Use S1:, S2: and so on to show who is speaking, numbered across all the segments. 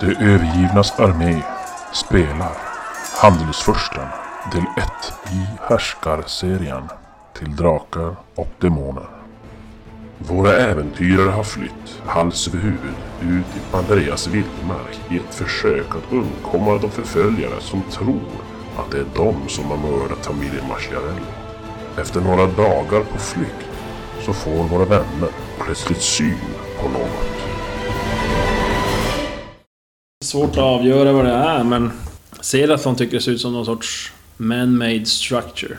S1: De övergivnas armé spelar Handelsfursten del 1 i Härskarserien till Drakar och Demoner. Våra äventyrare har flytt, hals över huvud, ut i Pandareas vildmark i ett försök att undkomma de förföljare som tror att det är de som har mördat familjen Marciarello. Efter några dagar på flykt så får våra vänner plötsligt syn på något.
S2: Svårt att avgöra vad det är, men Seratlon tycker det ser ut som någon sorts man-made structure.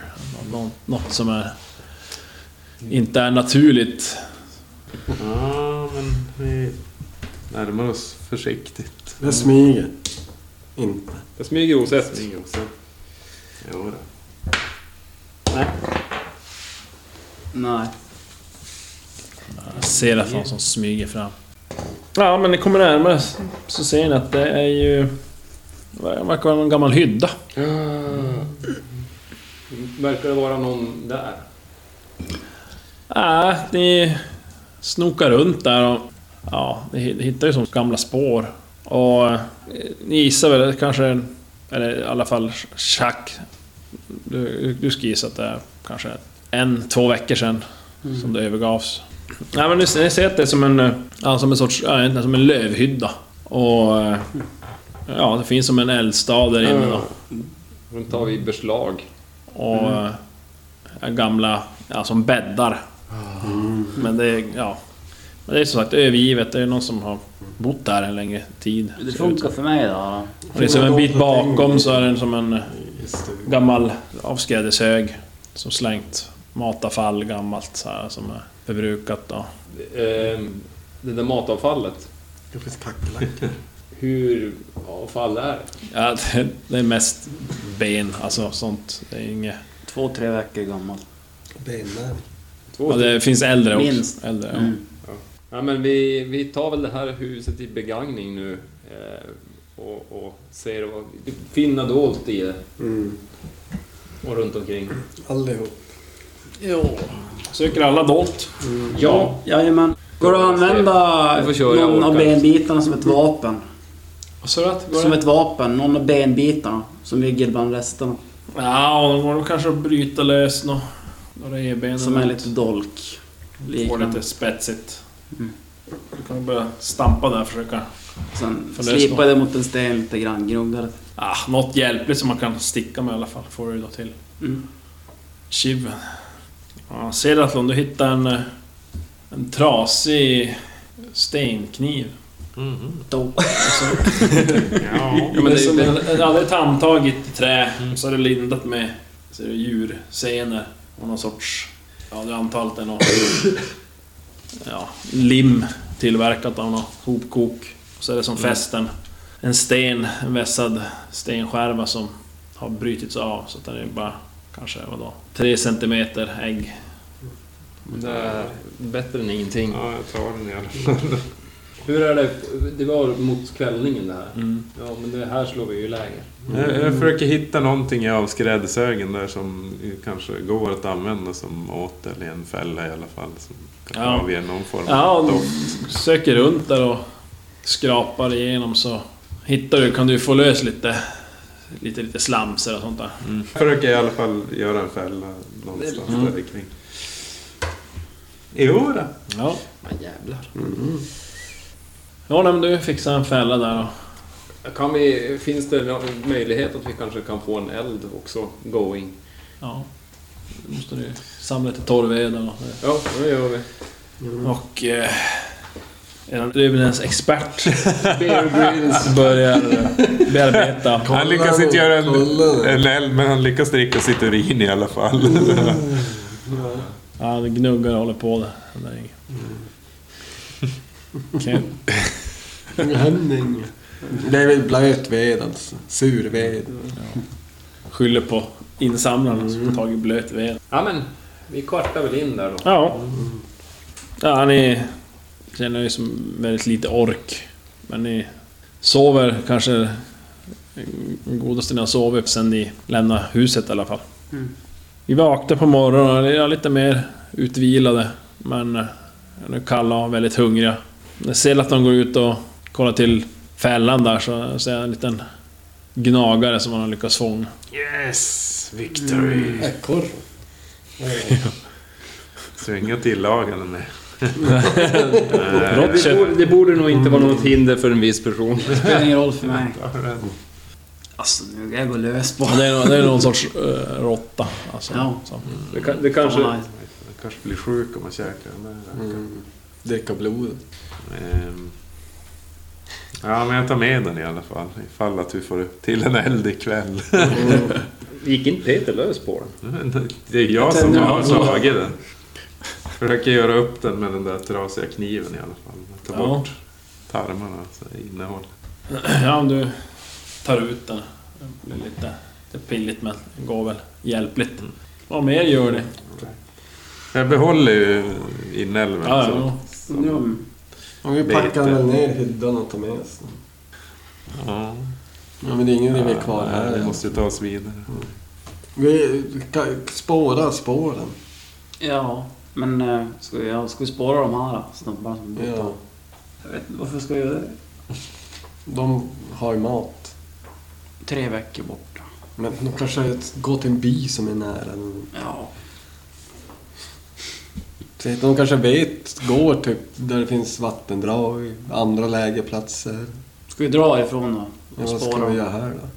S2: Något, något som är... Inte är naturligt.
S3: Ja, men vi närmar oss försiktigt.
S4: Det smyger. Inte.
S5: Jag smyger osett.
S3: Smyger också. Jo då.
S6: Nej.
S2: Seratlon som smyger fram. Ja, men ni kommer närmare så ser ni att det är ju... Det verkar vara någon gammal hydda.
S5: Verkar det vara någon där?
S2: Nej, ni snokar runt där och... Ja, ni hi- hittar ju som gamla spår. Och eh, ni gissar väl kanske... en- Eller i alla fall Chuck. Du, du skulle gissa att det är kanske en, två veckor sedan som det övergavs. Nej men ni, ser- ni ser att det är som en... eh, Ja, som en sorts... Ja, egentligen som en lövhydda. Och... eh, Ja, det finns som en eldstad där inne då.
S5: De tar vi i beslag.
S2: Och eh, gamla, ja, som bäddar. Men det är, ja. Men det är som sagt övergivet. Det är någon som har bott där en längre tid.
S6: Det
S2: ser det ut som.
S6: funkar för mig då.
S2: Och det är som en bit bakom så är den som en eh, gammal avskrädeshög. Som slängt matavfall, gammalt så här, som är förbrukat då.
S5: Ehm, Det där matavfallet.
S4: Det finns kackerlackor.
S5: Hur avfall är det?
S2: Ja, det- det är mest ben, alltså sånt. Det är inget...
S6: Två, tre veckor gammalt.
S4: Benmärg.
S5: Två
S2: Och det finns äldre också.
S6: Minst.
S2: Äldre, ja.
S6: Mm.
S5: Ja, men vi, vi tar väl det här huset i begagning nu eh, och, och ser vad vi finna dolt i det
S4: Mm.
S5: och runt omkring.
S4: Allihop.
S6: Jo.
S2: Söker alla dolt?
S5: Ja,
S6: Jajamän. Går det att
S5: Du
S6: använda
S5: får köra, jag
S6: någon av
S5: orkar inte.
S6: benbitarna som ett vapen?
S2: Vad sa du att?
S6: Som ett vapen, någon av benbitarna som ligger bland resterna.
S2: Ja, och de går kanske att bryta lös nå- några revben.
S6: Som
S2: eller
S6: är
S2: något.
S6: lite dolk.
S2: Får lite
S6: Liknande.
S2: spetsigt.
S6: Mm.
S2: Du kan börja stampa där och försöka...
S6: Sen
S2: Får lösa
S6: slipar det mot en sten lite grann, groggar det.
S2: Ah, något hjälpligt som man kan sticka med i alla fall, får du då till.
S6: Mm.
S2: Chiven. Ja, Seratlon, du hittar en... eh, En trasig stenkniv.
S6: Då.
S2: Ja, men det, är- det, det hade ett handtag i ett trä, och så är det lindat med så är det djursenor och någon sorts... Ja, det är antalet är något... ja, lim tillverkat av något hopkok. Och så är det som fästen. En sten, en vässad stenskärva som har brutits av, så att den är bara kanske, vadå, tre centimeter ägg.
S5: det är bättre än ingenting.
S3: Ja, jag tar den i alla fall.
S5: Hur är det? Det var mot kvällningen det här. Ja, men det här slår vi ju i läger.
S3: Jag, jag försöker hitta någonting i avskrädeshögen där som kanske går att använda som åt eller i en fälla i alla fall. Som kan
S2: Ja.
S3: avge någon form
S2: Ja,
S3: av
S2: och
S3: doft.
S2: söker runt där och skrapar igenom så hittar du, kan du få lös lite, lite, lite slamser och sånt där.
S3: Jag försöker i alla fall göra en fälla någonstans
S2: Mm.
S3: där kring. Jo då.
S2: Ja. Ja, nej, men du fixar en fälla där och...
S5: Kan vi, finns det någon möjlighet att vi kanske kan få en eld också going?
S2: Ja. Då måste du samla lite torved och...
S5: Ja, det gör vi.
S2: Och... Eh, en Rubenens expert
S5: Bear Grylls.
S2: börjar eh, bearbeta.
S3: Han lyckas inte göra en, en eld men han lyckas dricka sitt urin i alla fall.
S2: Ja, det gnuggar och håller på där. Det är inget. Okej.
S4: Henning. Det är väl blöt ved alltså. Surved.
S2: Skyller på insamlaren som tagit blöt ved.
S5: Ja, men vi kvartar väl in där då.
S2: Ja. Ja, ni känner ju som väldigt lite ork. Men ni sover kanske godaste ni har sovit sen ni lämnade huset i alla fall. Vi vaknade på morgonen och ni är lite mer utvilade. Men eh, nu kalla och väldigt hungriga. Ni ser att de går ut och kollar till fällan där så ser jag en liten gnagare som man har lyckats fånga.
S3: Yes! Victory!
S4: Ekorre.
S3: Så inga tillagande med.
S5: Det borde, det borde nog inte vara något hinder för en viss person.
S6: Det spelar ingen roll för mig. Alltså, nu jag går lös på
S2: Och Det är, någon- det är någon sorts eh, råtta. Alltså,
S6: Ja.
S2: som-
S5: Det, kan, det kanske...
S6: Fan, alltså.
S3: Man kanske blir sjuk om man käkar den där.
S4: Mm. Dricka blodet.
S3: Ehm. Ja, men jag tar med den i alla fall. Ifall att vi får till en eld ikväll.
S5: Gick inte Peter lös på den?
S3: Det är jag som har slagit den. Försöker göra upp den med den där trasiga kniven i alla fall. Ta
S2: Ja.
S3: bort tarmarna, alltså innehåll.
S2: Ja, om du tar ut den. Det blir lite det är pilligt men det går väl hjälpligt. Vad mer gör ni?
S3: Jag behåller ju inälven.
S2: Ja,
S3: så-
S2: ja.
S3: så-
S6: Jo,
S4: Om vi
S3: Det
S4: packar
S3: heter-
S4: väl ner hyddan och tar med oss den.
S3: Ja.
S4: Ja, men det är ingen idé vi är kvar
S3: Ja,
S4: här.
S3: Vi måste ju ta oss vidare.
S4: Vi kan spåra spåren.
S6: Ja, men eh, ska vi, ja, ska vi spåra de här då? snubbarna som bor
S4: Ja.
S6: på- Jag vet inte, varför ska vi göra det?
S4: De har ju mat.
S6: Tre veckor borta.
S4: Men de kanske går till en by som är nära.
S6: Ja.
S4: De kanske vet, går typ där det finns vattendrag, andra lägerplatser.
S6: Ska vi dra ifrån då?
S4: Ja,
S6: Och
S4: vad ska
S6: spåra?
S4: vi göra här då?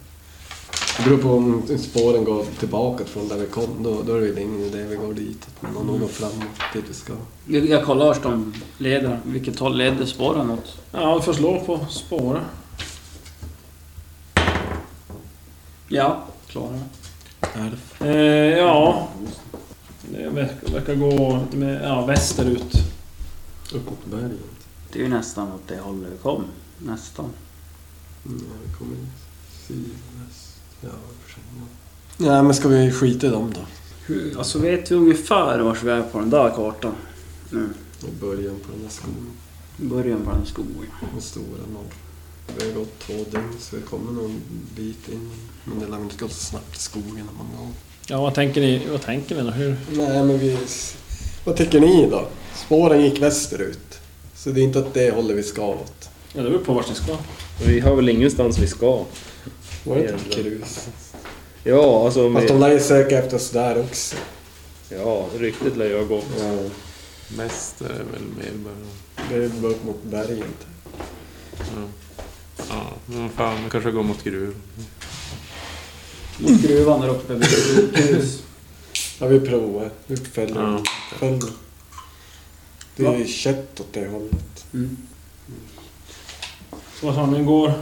S4: Det beror på om spåren går tillbaka från där vi kom. Då, då är det väl ingen idé vi går dit. Men om de går framåt dit vi ska.
S6: Jag, jag kollar vart de leder. Vilket håll leder spåren åt?
S2: Ja, du får slå på spåra.
S6: Ja, klarar jag.
S2: Eh, ja... Det verkar, verkar gå lite mer, ja, västerut.
S4: Upp mot berget.
S6: Det är ju nästan åt det hållet vi kom. Nästan.
S4: Mm, ja, vi kommer sydväst. Ja, för sig, ja. Nej, men ska vi skita i dem då?
S6: Hur, alltså vet vi ungefär vart vi är på den där kartan? Nu.
S4: I början på den här skogen.
S6: Början på den skogen.
S4: Den stora norr. Det har gått två dygn så vi kommer någon bit in. Men det lär väl inte gå så snabbt i skogen om man går.
S2: Ja, vad tänker ni? Vad tänker ni då? Hur?
S4: Nej, men vi... Vad tycker ni då? Spåren gick västerut. Så det är inte att det håller vi ska åt.
S2: Ja, det beror på vart ni ska.
S5: Vi har väl ingenstans vi ska.
S4: Var det inte
S5: Jävlar.
S4: krus?
S5: Ja, alltså...
S4: Fast de
S5: Med,
S4: lär ju söka efter oss där också.
S5: ja, ryktet lär ju ha gått.
S4: Ja,
S3: Mest är det väl med bara...
S4: det är bara upp mot berget.
S3: Ja, men vad fan, vi kanske går mot gruvan.
S6: Mot gruvan där uppe vid hus.
S4: Ja, vi provar. Vi följer.
S3: Ja.
S4: följer. Det är ju kött åt det hållet.
S6: Mm.
S2: Så vad sa ni? Ni går...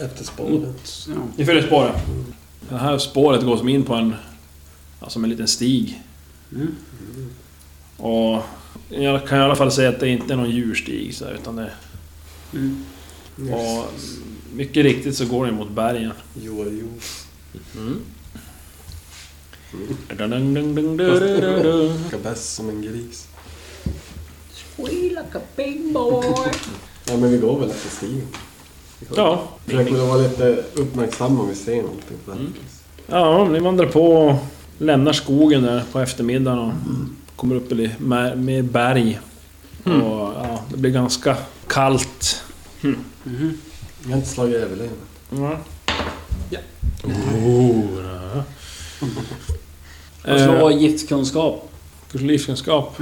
S4: Efter spåren.
S6: Ja.
S2: Ni följer spåret. Det här spåret går som in på en... Ja, som en liten stig.
S6: Mm.
S2: Och... Jag kan i alla fall säga att det inte är någon djurstig så här, utan det...
S6: Mm.
S2: Och mycket riktigt så går det mot bergen.
S4: Jo, jo. Ska bäst som en gris. Ja, men vi går väl efter stigen.
S2: Ja,
S4: Försöker väl vara lite uppmärksamma om vi ser någonting. Mm.
S2: ja, ni vandrar på och lämnar skogen där på eftermiddagen och kommer upp i mer- mer berg. Och, ja, det blir ganska kallt.
S4: Jag har inte slagit överlevnad.
S2: Ja.
S6: Och slå
S4: Eh.
S6: giftkunskap.
S2: Kurs livskunskap.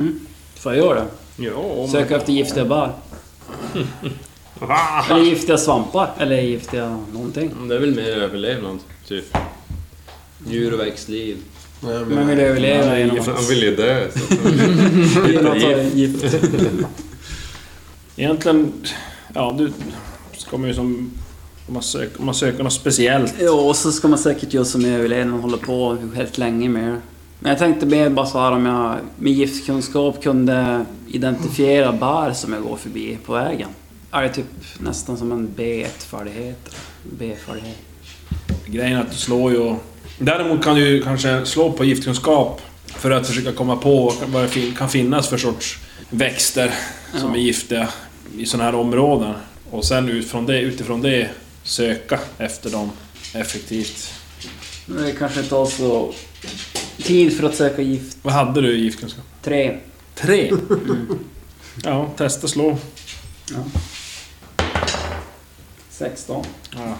S6: Får jag göra
S5: Ja, om
S6: det? Söka efter giftiga bär. Eller giftiga svampar. Eller giftiga någonting.
S5: Det är väl mer överlevnad, typ. Djur och växtliv.
S4: Nej,
S6: Men vill överleva genom att...
S3: Han vill ju dö. Så.
S6: genom att ta gift.
S2: Egentligen, ja du ska man ju som... Om man söker, om man söker något speciellt.
S6: Ja, och så ska man säkert göra som överleden och hålla på helt länge med det. Men jag tänkte mer bara så här om jag med giftkunskap kunde identifiera bär som jag går förbi på vägen. Är det typ nästan som en B1-färdighet? B-färdighet?
S2: Grejen är att du slår ju och... Däremot kan du ju kanske slå på giftkunskap för att försöka komma på vad det fin- kan finnas för sorts växter som
S6: Ja.
S2: är giftiga i sådana här områden. Och sen utifrån det, utifrån det söka efter dem effektivt.
S6: Men det kanske tar så tid för att söka gift.
S2: Vad hade du i giftkunskap? Mm.
S6: Tre.
S2: Tre! Ja, testa slå.
S6: 16.
S2: Ja.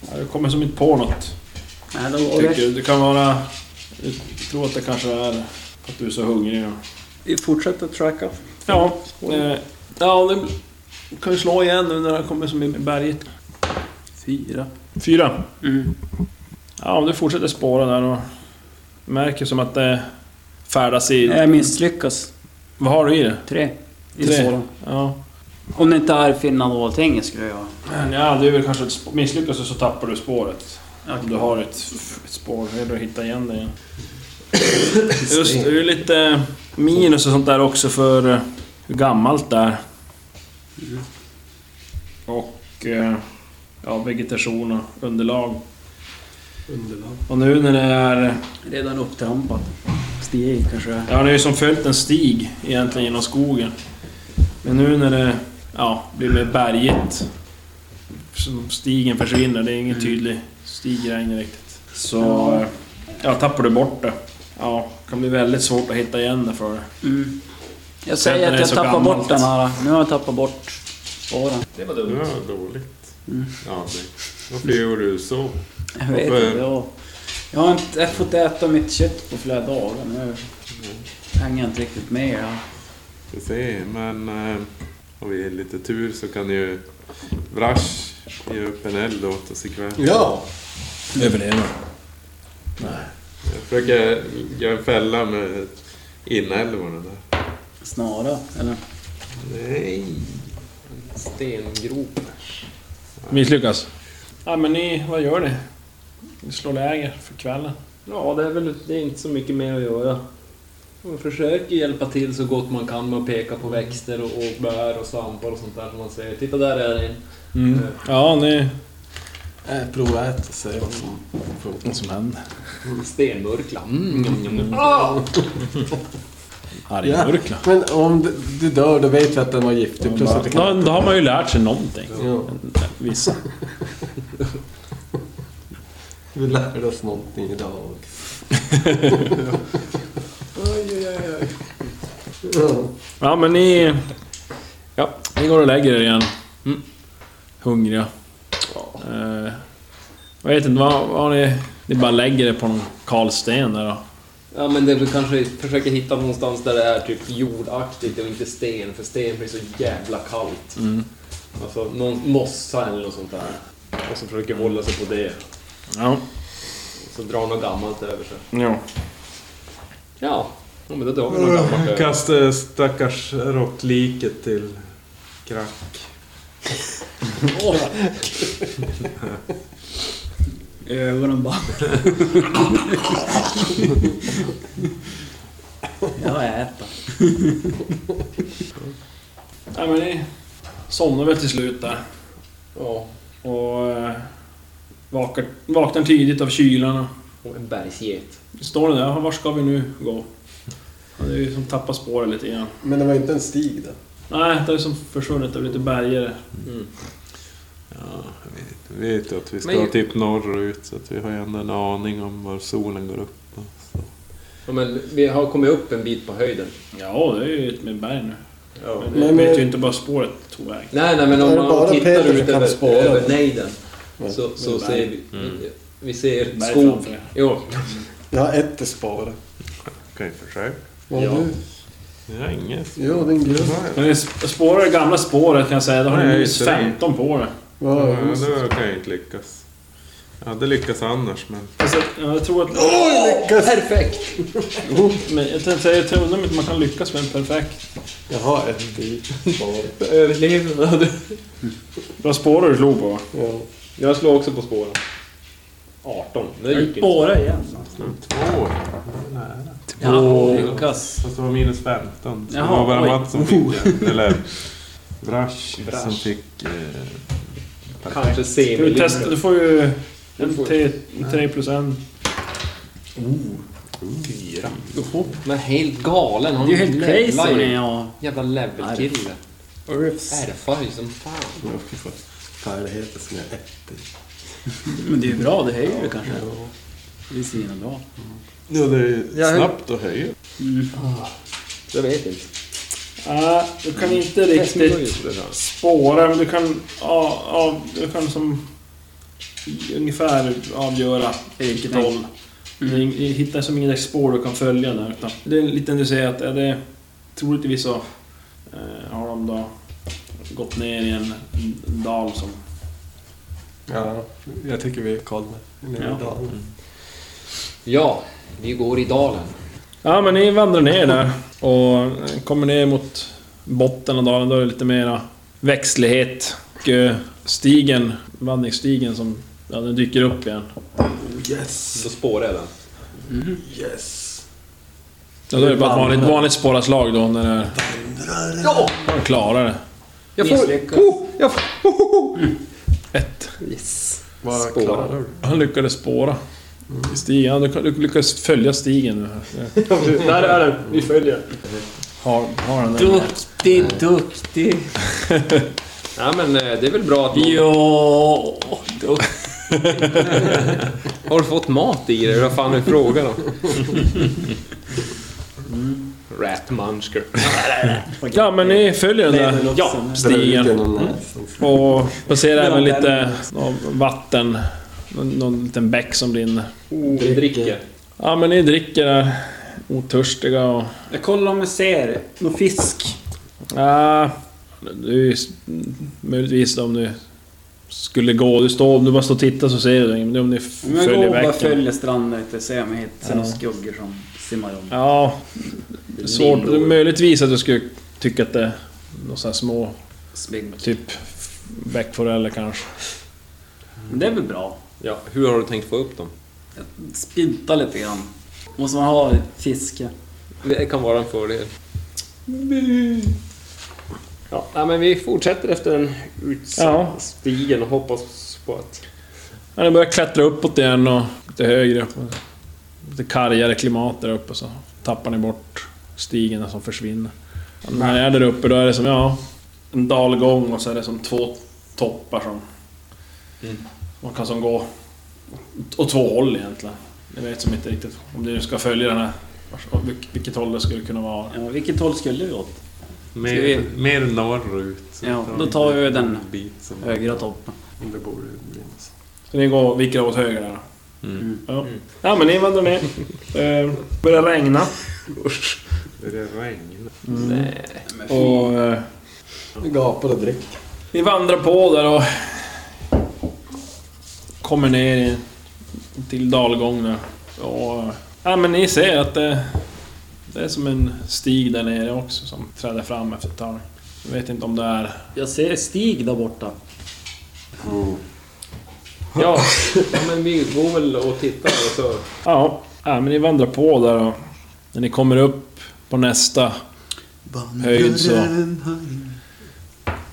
S2: Ja, Du kommer som inte på något.
S6: Nej, då går
S2: Tycker
S6: det.
S2: du. Det kan vara... Jag tror att det kanske är att du är så hungrig. och-
S6: Vi fortsätter tracka.
S2: Ja, eh, ja det kan ju slå igen nu när han kommer som i berget.
S6: Fyra.
S2: Fyra.
S6: Mm.
S2: Ja, om du fortsätter spåra där och märker som att det färdas i...
S6: Jag misslyckas.
S2: Vad har du i det?
S6: Tre. I
S2: Tre.
S6: svåra.
S2: Ja.
S6: Om det inte är Finland och allting skulle jag...
S2: Men ja, det är väl kanske ett spår. Misslyckas du så tappar du spåret. Om du
S6: Okay.
S2: har ett, ett spår, det är bra att hitta igen det igen. Just det, det är lite minus och sånt där också för eh, hur gammalt det är. Mm. Och... eh, Ja, vegetation och underlag.
S4: Underlag.
S2: Och nu när det är...
S6: Redan upptrampat. Stig kanske det är.
S2: Ja, det är ju som följt en stig egentligen genom skogen. Men nu när det ja, blir mer berget, som stigen försvinner, det är ingen tydlig stig längre riktigt. Så ja, tappar du bort det, ja, det kan bli väldigt svårt att hitta igen det för dig.
S6: Mm. Jag
S2: Sen när
S6: säger
S2: det
S6: att
S2: är
S6: jag
S2: så
S6: tappar
S2: gammalt.
S6: bort den här. Nu har jag tappat bort spåren.
S5: Det var
S3: Det
S5: dumt.
S3: var dåligt. Ja, det. Varför gjorde du så?
S6: Jag vet
S3: Varför?
S6: inte. Jag, jag har inte jag har fått äta mitt kött på flera dagar nu. Hänger jag inte riktigt med. Ja.
S3: Vi får se, men eh, har vi lite tur så kan ju Vrash ge upp en eld åt oss ikväll.
S4: Ja!
S2: Överleva.
S3: Jag försöker göra en fälla med inälvorna där.
S6: Snara, eller?
S3: Nej!
S5: Stengrop.
S2: Misslyckas. Ja, men ni, vad gör ni? Ni slår läger för kvällen.
S5: Ja, det är väl det är inte så mycket mer att göra. Man försöker hjälpa till så gott man kan med att peka på växter och, och bär och svampar och sånt där som man säger. Titta där är det en. Mm.
S2: Ja, ni...
S4: Äh, prova att äta och se vad som funkar.
S2: Vad som händer?
S5: Stenmurkla. Mm.
S2: Argmurkla.
S4: Men om du, du dör, då vet vi att den var giftig. Plus att det
S2: Ja,
S4: kan...
S2: då har man ju lärt sig någonting.
S4: Ja,
S2: Vissa.
S4: vi lärde oss någonting idag. oj, oj, oj. oj.
S2: Ja, men ni... Ja, ni går och lägger er igen. Hungriga. Eh, jag vet inte, vad, vad har ni... Ni bara lägger er på någon kal sten där då.
S5: Ja, men det är väl kanske försöka hitta någonstans där det är typ jordaktigt och inte sten, för sten blir så jävla kallt.
S4: Mm.
S5: Alltså någon mossa eller något sånt där. Och så försöker hålla sig på det.
S2: Ja.
S5: Och så drar något gammalt över sig.
S2: ja.
S5: Ja, ja men då drar vi något
S4: Mm.
S5: gammalt över.
S3: Kasta stackars råttliket till Krack.
S6: Ögonen bara... jag äter.
S2: ja, men ni somnar väl till slut där.
S5: Ja,
S2: Och eh, vakar, vaknar tidigt av kylan. och-
S5: och en bergsget.
S2: Står ni där, "Ja, var ska vi nu gå? Ja, det är ju som tappar spåret lite grann.
S4: Men det var inte en stig där.
S2: Nej, det är som försvunnit, det är lite bergare.
S3: Ja, jag vet, jag vet ju att vi ska
S5: Men-
S3: typ norrut så att vi har ju ändå en aning om var solen går upp. och Så.
S5: Ja, men vi har kommit upp en bit på höjden.
S2: Ja, det är ju ett med berg nu.
S5: Ja.
S2: Men
S4: Nej,
S2: ni
S4: men-
S2: vet ju inte bara spåret tog vägen.
S5: Nej, nej, men om
S4: Är det
S5: man
S4: bara
S5: tittar
S4: Peter som
S5: ut
S4: kan
S5: över,
S4: spåra? Mm.
S5: över nejden så,
S2: det
S5: så
S2: är berg.
S5: ser vi... Vi ser
S2: Berg
S5: skog.
S2: framför er.
S5: Jo.
S4: Jag har ett i spåret.
S3: Kan ju försöka.
S4: Vad
S2: Ja.
S4: har du?
S3: Ja, inget.
S4: Ja, den grön.
S2: Men det spårar det gamla spåret kan jag säga. Då har ni
S3: Nej,
S2: minus
S3: just det.
S2: 15 på det.
S4: Vad har
S3: Ja,
S4: jag?
S3: då kan jag ju inte lyckas. Jag hade lyckats annars men...
S2: Fast jag, jag tror att...
S5: Perfekt!
S2: Men jag tänkte säga, jag tror undrar om inte man kan lyckas med en perfekt.
S4: Jag har ett i spåret.
S5: Överlevnad.
S2: Bra spårar du slog på va?
S4: Ja.
S5: Jag slår också på spåren. 18. Det gick inte.
S6: Spåra igen.
S3: Två!
S6: Ja, lyckas.
S3: Fast det var minus 15. Så det
S6: Jaha,
S3: var bara
S6: oj. Oh.
S3: Mats som fick det. Eller Vrash som fick... Eh,
S5: Kanske
S2: Ska du testa?
S5: semilyckat.
S2: Du får ju... En T, tre plus en.
S5: Men helt galen. Han
S6: Det är ju helt
S5: levlar
S6: crazy
S5: ju.
S6: när jag...
S5: Jävla levelkille. Ärfar ju som fan.
S4: Ja, fy fan. Färdigheter som jag har ett i.
S6: Men det är ju bra, det höjer ju kanske. Det är svinbra.
S3: ja, det är
S5: Jag-
S3: snabbt att höja.
S5: Jag vet inte.
S2: Nej, du kan inte riktigt spåra, men du kan, ja, ja, du kan som ungefär avgöra vilket
S6: Mm.
S2: håll. Du in- hittar som inget spår du kan följa där. Utan det är lite du säger att är det troligtvis så eh, har de då gått ner i en dal som...
S4: Ja, jag tycker vi är kollar.
S2: Ja.
S4: Ja.
S5: Ja, vi går i dalen.
S2: Ja, men ni vandrar ner där och eh, kommer ner mot botten av dalen. Då är det lite mera växtlighet. Och eh, stigen, vandringsstigen som... Ja, den dyker upp igen.
S5: Då spårar jag den.
S2: Ja, då är det bara ett vanligt, vanligt spåraslag då när det... Ja! Man klarar det.
S5: Jag får... Oh, jag får
S2: Mm. Ett.
S5: yes.
S4: Vad
S5: Spåra.
S4: klarar du?
S2: Han lyckades spåra
S5: Mm.
S2: i stigen. Han lyck- lyck- lyckades följa stigen. nu här. Jag
S5: Där är den. Vi följer.
S2: Har, har den där.
S5: Duktig, duktig. Ja, men eh, det är väl bra att...
S6: Jo,
S5: Har du fått mat i dig? Vad fan är frågan om? Ratmunchker.
S2: Ja, men ni följer den där
S6: Ja,
S2: stigen. Mm.
S4: Genom näsan.
S2: Och passerar även lite ja, vatten. Någon, någon liten bäck som brinner.
S5: Vi dricker.
S2: Ja, men ni dricker där. Otörstiga och...
S6: jag kollar om jag ser någon fisk.
S2: Ja, det är ju s- möjligtvis om du skulle gå. Du står, om du bara står och tittar så ser du det. Men om ni f-
S6: Men jag går
S2: följer
S6: och bara
S2: bäcken.
S6: följer stranden lite och ser om jag hittar några skuggor som simmar om.
S2: Ja, det är svårt. Det är möjligtvis att du skulle tycka att det är några sådana små,
S6: Spigg.
S2: typ bäckforeller kanske.
S6: Men det är väl bra.
S5: Ja, hur har du tänkt få upp dem?
S6: Spinta lite grann. Måste man ha ett fiske?
S5: Det kan vara en fördel. Ja, nej, men vi fortsätter efter den utsatta
S2: Ja.
S5: stigen och hoppas på att...
S2: Ja, det börjar klättra uppåt igen och lite högre upp. Lite kargare klimat där uppe så tappar ni bort stigen som försvinner. Ja, När ni är där uppe då är det som, ja, en dalgång och så är det som två toppar som...
S6: Mm.
S2: Man kan som gå åt två håll egentligen. Jag vet som inte riktigt om ni nu ska följa den här, vars- och vilk- vilket håll det skulle kunna vara.
S6: Ja, vilket håll skulle vi åt? Ska
S3: Mer,
S6: vi-
S3: mer norrut.
S6: Ja, då tar vi den
S3: bit som...
S6: högra toppen.
S4: Det borde ju bli något sånt.
S2: Så ni går, viker åt höger där.
S3: Mm.
S2: Ja. ja, men ni vandrar ner. Eh, börjar regna. Mm.
S3: Det regnar.
S2: Och... Eh,
S4: Vi gapar och dricker.
S2: Vi vandrar på där och... Kommer ner i, till dalgång där. Och... eh, Ja men ni ser att det... Det är som en stig där nere också som träder fram efter ett tag. Jag vet inte om det är...
S6: Jag ser Stig där borta.
S5: Ja, ja men vi går väl och tittar och så...
S2: Ja, ja men ni vandrar på där och... När ni kommer upp på nästa höjd så...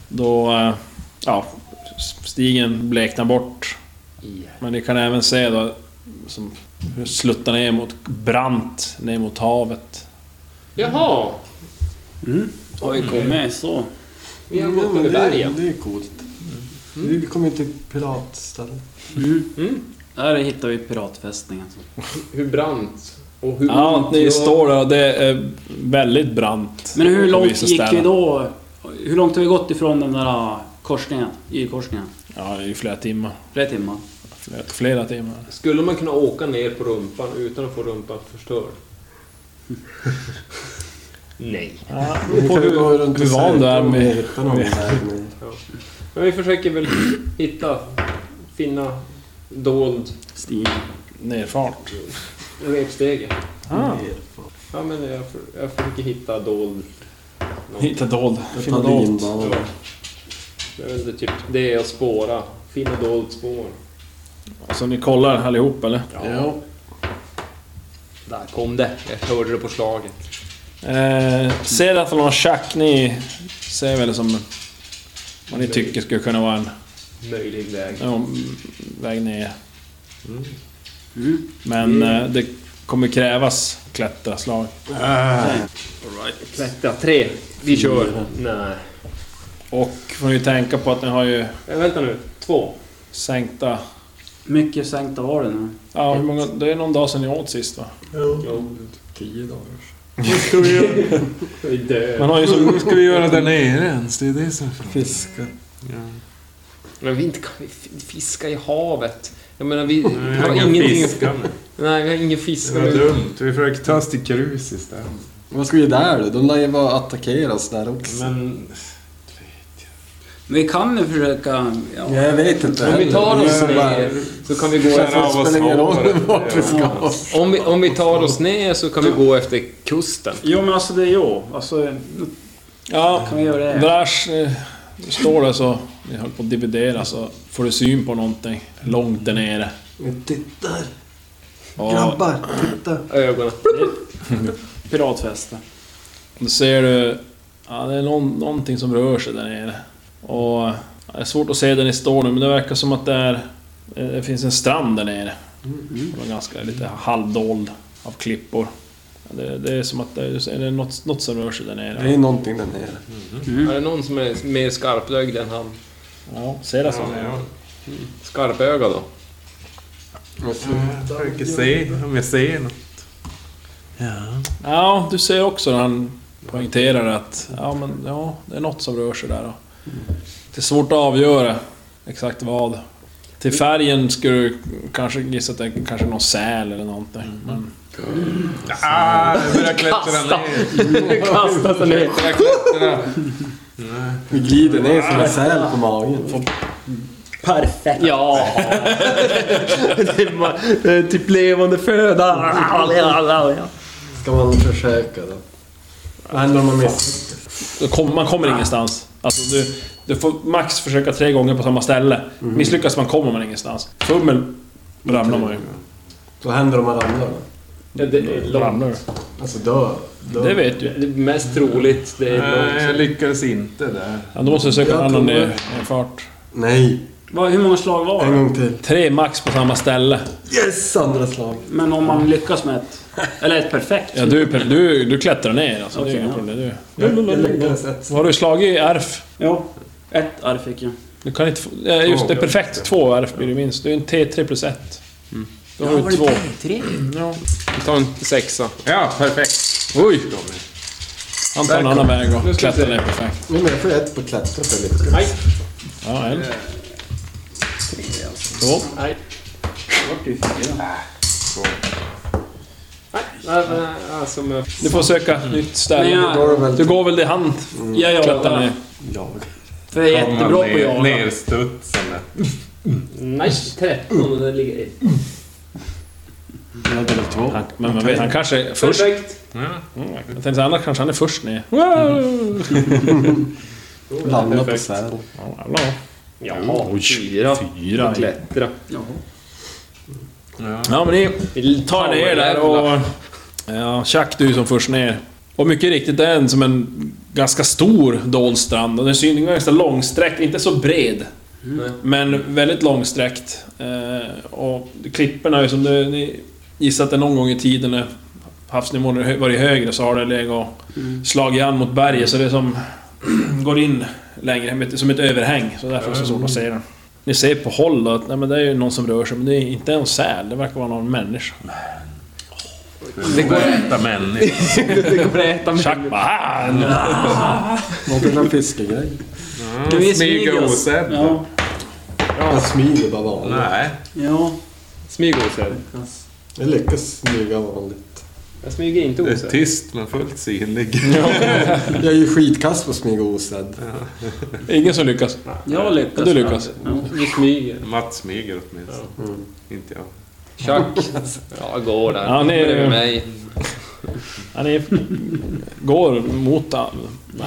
S2: Då... eh, Ja, stigen bleknar bort. Men ni kan även se då som hur det sluttar ner mot brant ner mot havet.
S5: Jaha!
S6: Har vi kommit så?
S5: Vi har
S4: Ja,
S5: gått
S4: men
S5: över
S4: det, är-
S5: bergen.
S4: det är coolt. Vi kommer ju till piratstället.
S6: Där hittar vi piratfästningen.
S5: Hur brant och hur
S2: Ja,
S5: ont
S2: ni
S5: gör-
S2: står där och det är väldigt brant.
S6: Men hur
S2: på
S6: långt
S2: vissa
S6: gick vi
S2: ställen.
S6: då? Hur långt har vi gått ifrån den där ah, korsningen? Y-korsningen?
S2: Ja, i flera timmar.
S6: Flera timmar.
S2: Flera, flera timmar.
S5: Skulle man kunna åka ner på rumpan utan att få rumpan förstörd? Nej.
S2: Ja,
S4: Vi
S2: på
S4: kan ju gå
S2: hur,
S4: runt
S2: hur
S4: och
S2: van du
S4: söka
S2: är
S4: om vi
S2: med...
S4: hittar någon väg ner.
S5: Men vi försöker väl hitta, finna dold
S6: Stig.
S2: Nerfart.
S5: repstege.
S2: Ah,
S5: Ja, men jag, för, jag försöker hitta dold...
S2: hitta dold.
S4: Jag
S2: Finna
S4: tar
S2: dold.
S4: linbanan.
S5: Jag vet inte, typ det är att spåra. Finna dolt spår.
S2: Så ni kollar allihop eller?
S4: Ja.
S5: Där kom det. Jag hörde det på slaget.
S2: Eh, ser att någon schack, ni ser väl som vad ni tycker skulle kunna vara en
S5: Möjlig väg.
S2: ja, m- väg ner. Men
S6: Mm.
S2: eh, det kommer krävas klättraslag.
S5: Klättra, tre. Vi kör. Nej.
S2: Och får ni tänka på att ni har ju
S5: Äh, vänta nu. Två.
S2: sänkta...
S6: Mycket sänkta var det nu.
S2: Ja, hur många, det är någon dag sedan ni åt sist va?
S4: Ja. Tio dagar.
S3: Vad ska vi göra,
S5: Vi dör.
S2: Man har ju som...
S3: vad ska vi göra där nere ens? Det är det som är frågan.
S4: Fiskar.
S3: Ja.
S5: Men vi inte kan vi f- fiska i havet. Jag menar, vi
S3: Vi
S5: har
S3: har inga
S5: ingenting...
S3: fiskar nu.
S5: Nej, vi har ingen
S3: Det
S5: fisk.
S3: var dumt. Vi försökte ta oss till Krus istället.
S4: Vad ska vi där då? De lär ju vara attackeras där också.
S3: Men...
S6: Vi kan ju försöka... Ja.
S4: jag vet inte
S5: Om vi tar
S4: heller.
S5: oss
S4: Det är bara-
S5: ner så kan vi gå...
S3: Skär av
S4: Det
S3: oss
S4: spelar ingen roll
S3: håret.
S4: vart vi ska.
S5: Om vi, om vi tar oss ner så kan vi gå efter kusten.
S6: Jo men alltså det är jag. Alltså,
S2: Ja,
S6: kan vi göra det?
S2: Drash eh, står där så... Ni höll på att dividera så får du syn på någonting långt där nere.
S4: Men Titta här,
S2: Och
S4: grabbar! Titta!
S5: Ögonen.
S6: Piratfäste.
S2: då ser du... Ja, det är någon, någonting som rör sig där nere. Och... ja, Det är svårt att se där ni står nu, men det verkar som att det är... eh, Det finns en strand där nere. Den var ganska lite halvdold av klippor. Ja, Det, det är som att det är, det är något, något som rör sig där nere.
S4: Det är någonting där nere.
S5: Är det någon som är mer skarplögd än han?
S2: Ja, ser det så.
S3: Mm.
S5: Skarpöga då?
S4: Men
S3: Jag
S4: sluta.
S3: försöker Mm. se om jag ser något.
S2: Ja, du ser också när han poängterar att ja, men, ja, det är något som rör sig där. och Det är svårt att avgöra exakt vad. Till färgen skulle du kanske gissa att det är kanske någon säl eller någonting. Men
S3: Ah, jag börjar klättra ner.
S5: Kasta sig ner.
S3: Jag klättrar.
S4: Vi glider ner som en säl på magen.
S6: Perfekt.
S5: Ja! det, är, ma- det är typ levande föda.
S4: Ska man försöka då? Vad händer om man misslyckas?
S2: då kom, man kommer ingenstans. Alltså, du, du får max försöka tre gånger på samma ställe. Misslyckas man kommer man ingenstans. Fummel ramlar man ju.
S4: Vad händer om man ramlar då?
S5: Ja, det är långt.
S2: Ramlar du?
S4: Alltså dör? dör.
S2: Det vet
S5: Det
S2: du.
S5: är mest troligt, det är
S3: Nej, Eh, jag
S5: långt.
S3: lyckades inte där.
S2: Ja, då måste du söka en
S4: Jag
S2: annan
S4: provar.
S2: ner- nerfart.
S4: Nej,
S6: Vad, hur många slag var
S4: en
S6: det?
S4: gång till.
S2: Tre max på samma ställe.
S4: Yes! Andra slag.
S6: Men om man lyckas med ett... Eller ett perfekt.
S2: Ja, du, du, du klättrar ner alltså. det är
S6: Okej,
S2: inga
S6: ja.
S2: problem. Du.
S4: Jag, jag lyckades ett
S2: Vad har du slagit i RF?
S6: Jo. Ett arv fick jag.
S2: Du kan inte få... eh, just det,
S3: Två.
S2: perfekt. Två RF blir det minst. Det är en T3 plus 1. Då har du två.
S6: Tre?
S2: Ja.
S5: Ta en sexa.
S3: Ja, perfekt.
S2: Oj! Han tar en annan väg
S5: Nu
S2: och
S5: ska vi
S2: klättrar
S5: se.
S2: ner perfekt.
S4: Nej, men jag får ett på klättra för lite.
S5: Nej,
S2: Ja, en. Så.
S5: nej. Nej, nej, Alltså, men-
S2: Du får söka nytt
S6: Mm. Men
S2: ställe.
S6: jag,
S2: Du går väl det hand
S6: jag
S2: klättrar
S6: jagar.
S2: ner?
S6: För jag är jättebra på att
S3: ner,
S6: jaga.
S3: nerstudsande.
S5: nej, 13 och den ligger i.
S4: Jag hade väl två.
S2: Han, men man vet, han kanske är först.
S5: Perfekt.
S2: Jag tänkte säga, annars kanske han är först ner. Mm.
S4: Ramla på säl.
S2: Ja, jävlar.
S5: Jaha, fyra.
S2: Fyra.
S5: Klättra.
S2: Ja, men ni tar ner där och... Ja, Chuck, du är som först ner. Och mycket riktigt, det är en som en ganska stor dold strand. Och den syns den är ganska långsträckt, inte så bred.
S5: Nej.
S2: Men väldigt långsträckt. Eh, Och klipporna är som det, ni gissar att det någon gång i tiden när havsnivån har hö- varit högre så har det legat och slagit an mot berget. Så det är som går in längre, med- som ett överhäng. Så därför är det så svårt att se den. Ni ser på håll då att nej, men det är ju någon som rör sig, men det är inte en säl. Det verkar vara någon människa.
S5: Det går
S3: Äta människor.
S5: inte att äta
S2: Chuck bara "Ah!"
S4: Var inte det någon fiskegrej?
S6: Kan vi
S3: Smyga
S6: smyga oss?
S3: osedd.
S6: Ja.
S4: Jag smyger bara vanligt.
S3: Nej.
S6: Ja.
S5: Smyg osedd.
S4: Jag lyckas smyga vanligt.
S5: Jag smyger inte
S3: Det är typ-
S5: osedd.
S3: tyst men fullt synlig.
S4: Jag är ju skitkass på att smyga osedd.
S2: Ingen som lyckas.
S6: Jag lyckas.
S2: Du lyckas.
S6: Ja.
S5: Vi smyger.
S3: Mats smyger åtminstone.
S2: Mm.
S3: Inte jag.
S5: Chuck. Ja, går där.
S2: Ja, nej,
S5: Bredvid
S2: det-
S5: mig.
S2: Han är, går mot den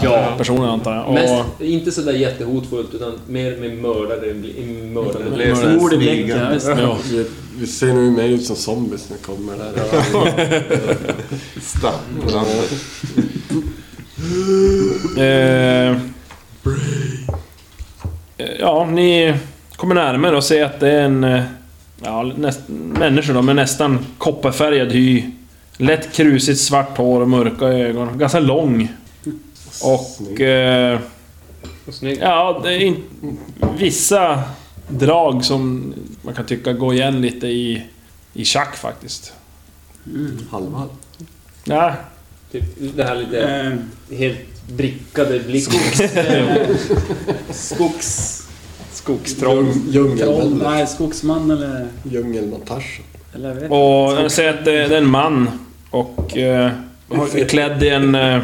S5: Ja.
S2: personen antar jag. Och,
S5: Mest, inte sådär jättehotfullt utan mer med mördare. en
S3: Det
S5: Mördare.
S3: blir så här
S6: Mord i
S3: smygande.
S6: bäcken. visst.
S2: ja.
S4: Vi, vi ser nu mer ut som zombies när vi kommer där.
S2: Eh, eh, ja, ni kommer närmare och ser att det är en... eh, Ja, näst, människor då, med nästan kopparfärgad hy. Lätt krusigt svart hår och mörka ögon. Ganska lång. Och... Eh,
S5: Snyggt.
S2: ja, det är in, vissa drag som man kan tycka går igen lite i, i schack faktiskt.
S4: Halvhalv.
S2: Ja,
S5: Typ den här lite
S6: Eh,
S5: helt brickade blicken. Skogs...
S4: Ljung,
S5: Skogstrång.
S6: troll,
S4: djungelman.
S6: nej, skogsman eller...
S4: Djungelmontage.
S6: Eller jag vet inte.
S2: Och jag säger att det, det är en man och eh, har- klädd i en, eh,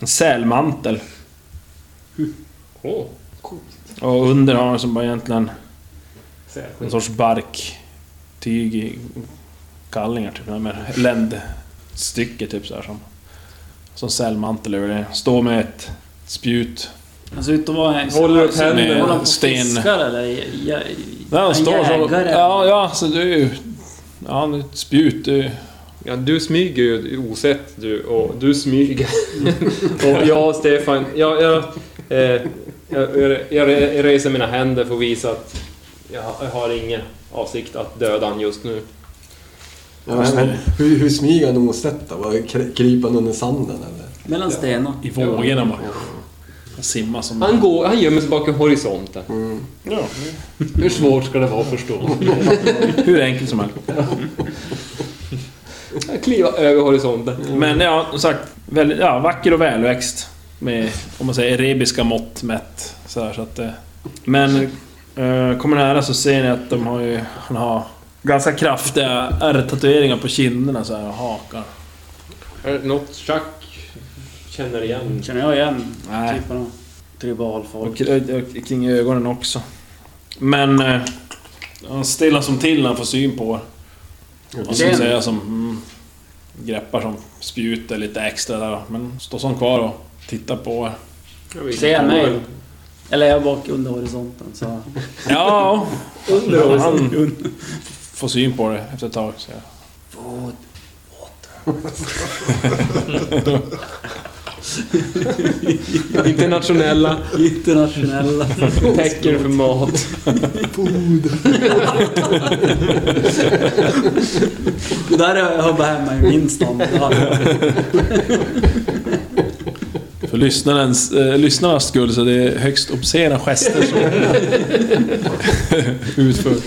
S2: en sälmantel.
S5: Åh,
S2: Och under har han som bara egentligen en
S5: sälskinn.
S2: sorts barktyg i kallingar typ. Med ländstycke typ så här som... Som sälmantel över det. Står med ett spjut.
S6: Han ser ut att vara en...
S5: Håller upp
S6: Håller
S5: händerna.
S6: han på och
S2: Sten.
S6: fiskar eller? Ja, ja,
S2: Där han står så...
S6: jägare.
S2: Ja, ja, så det är ju... Ja, det är ett spjut. Det är ju,
S5: Ja, du smyger ju osett du och du smyger. och jag Stefan, jag, jag, eh, jag, jag, jag re- jag reser mina händer för att visa att jag, har- jag har ingen avsikt att döda han just nu.
S4: Ja, men hur, hur smyger han osett då? Var- kry- Kryper han under sanden eller?
S6: Mellan stenar.
S2: I vågorna bara. Han simmar som...
S5: Han, går, han gömmer sig bakom horisonten.
S4: Mm.
S5: Hur svårt ska det vara att förstå?
S2: Hur enkelt som helst.
S5: Jag kliver över
S4: Mm.
S5: horisonten.
S2: Men ja, som sagt. Väldigt, ja, vacker och välväxt. Med, om man säger, erebiska mått mätt. Så här, så att, eh, men eh, kommer nära så ser ni att de har ju... Han har ganska kraftiga ärrtatueringar på kinderna så här, och hakar.
S5: Är det något Chuck känner igen?
S6: Känner jag igen
S2: Nej.
S6: typen av tribalfolk.
S2: Och, och, och kring ögonen också. Men... Eh, han stillar som till när han får syn på er. Och så
S6: Den-
S2: säger jag som... Mm, greppar som spjuter lite extra där Men står som kvar och tittar på er.
S6: Ser jag mig? Eller jag är bak under horisonten så...
S2: Ja, han får syn på det efter ett tag. Så. jag-
S6: Åh,
S5: Internationella
S6: internationella...
S5: tecken för mat.
S6: Det där har jag bara hemma i min stad.
S2: För lyssnarens, eh, lyssnarnas skull så det är högst obscena gester som utförs.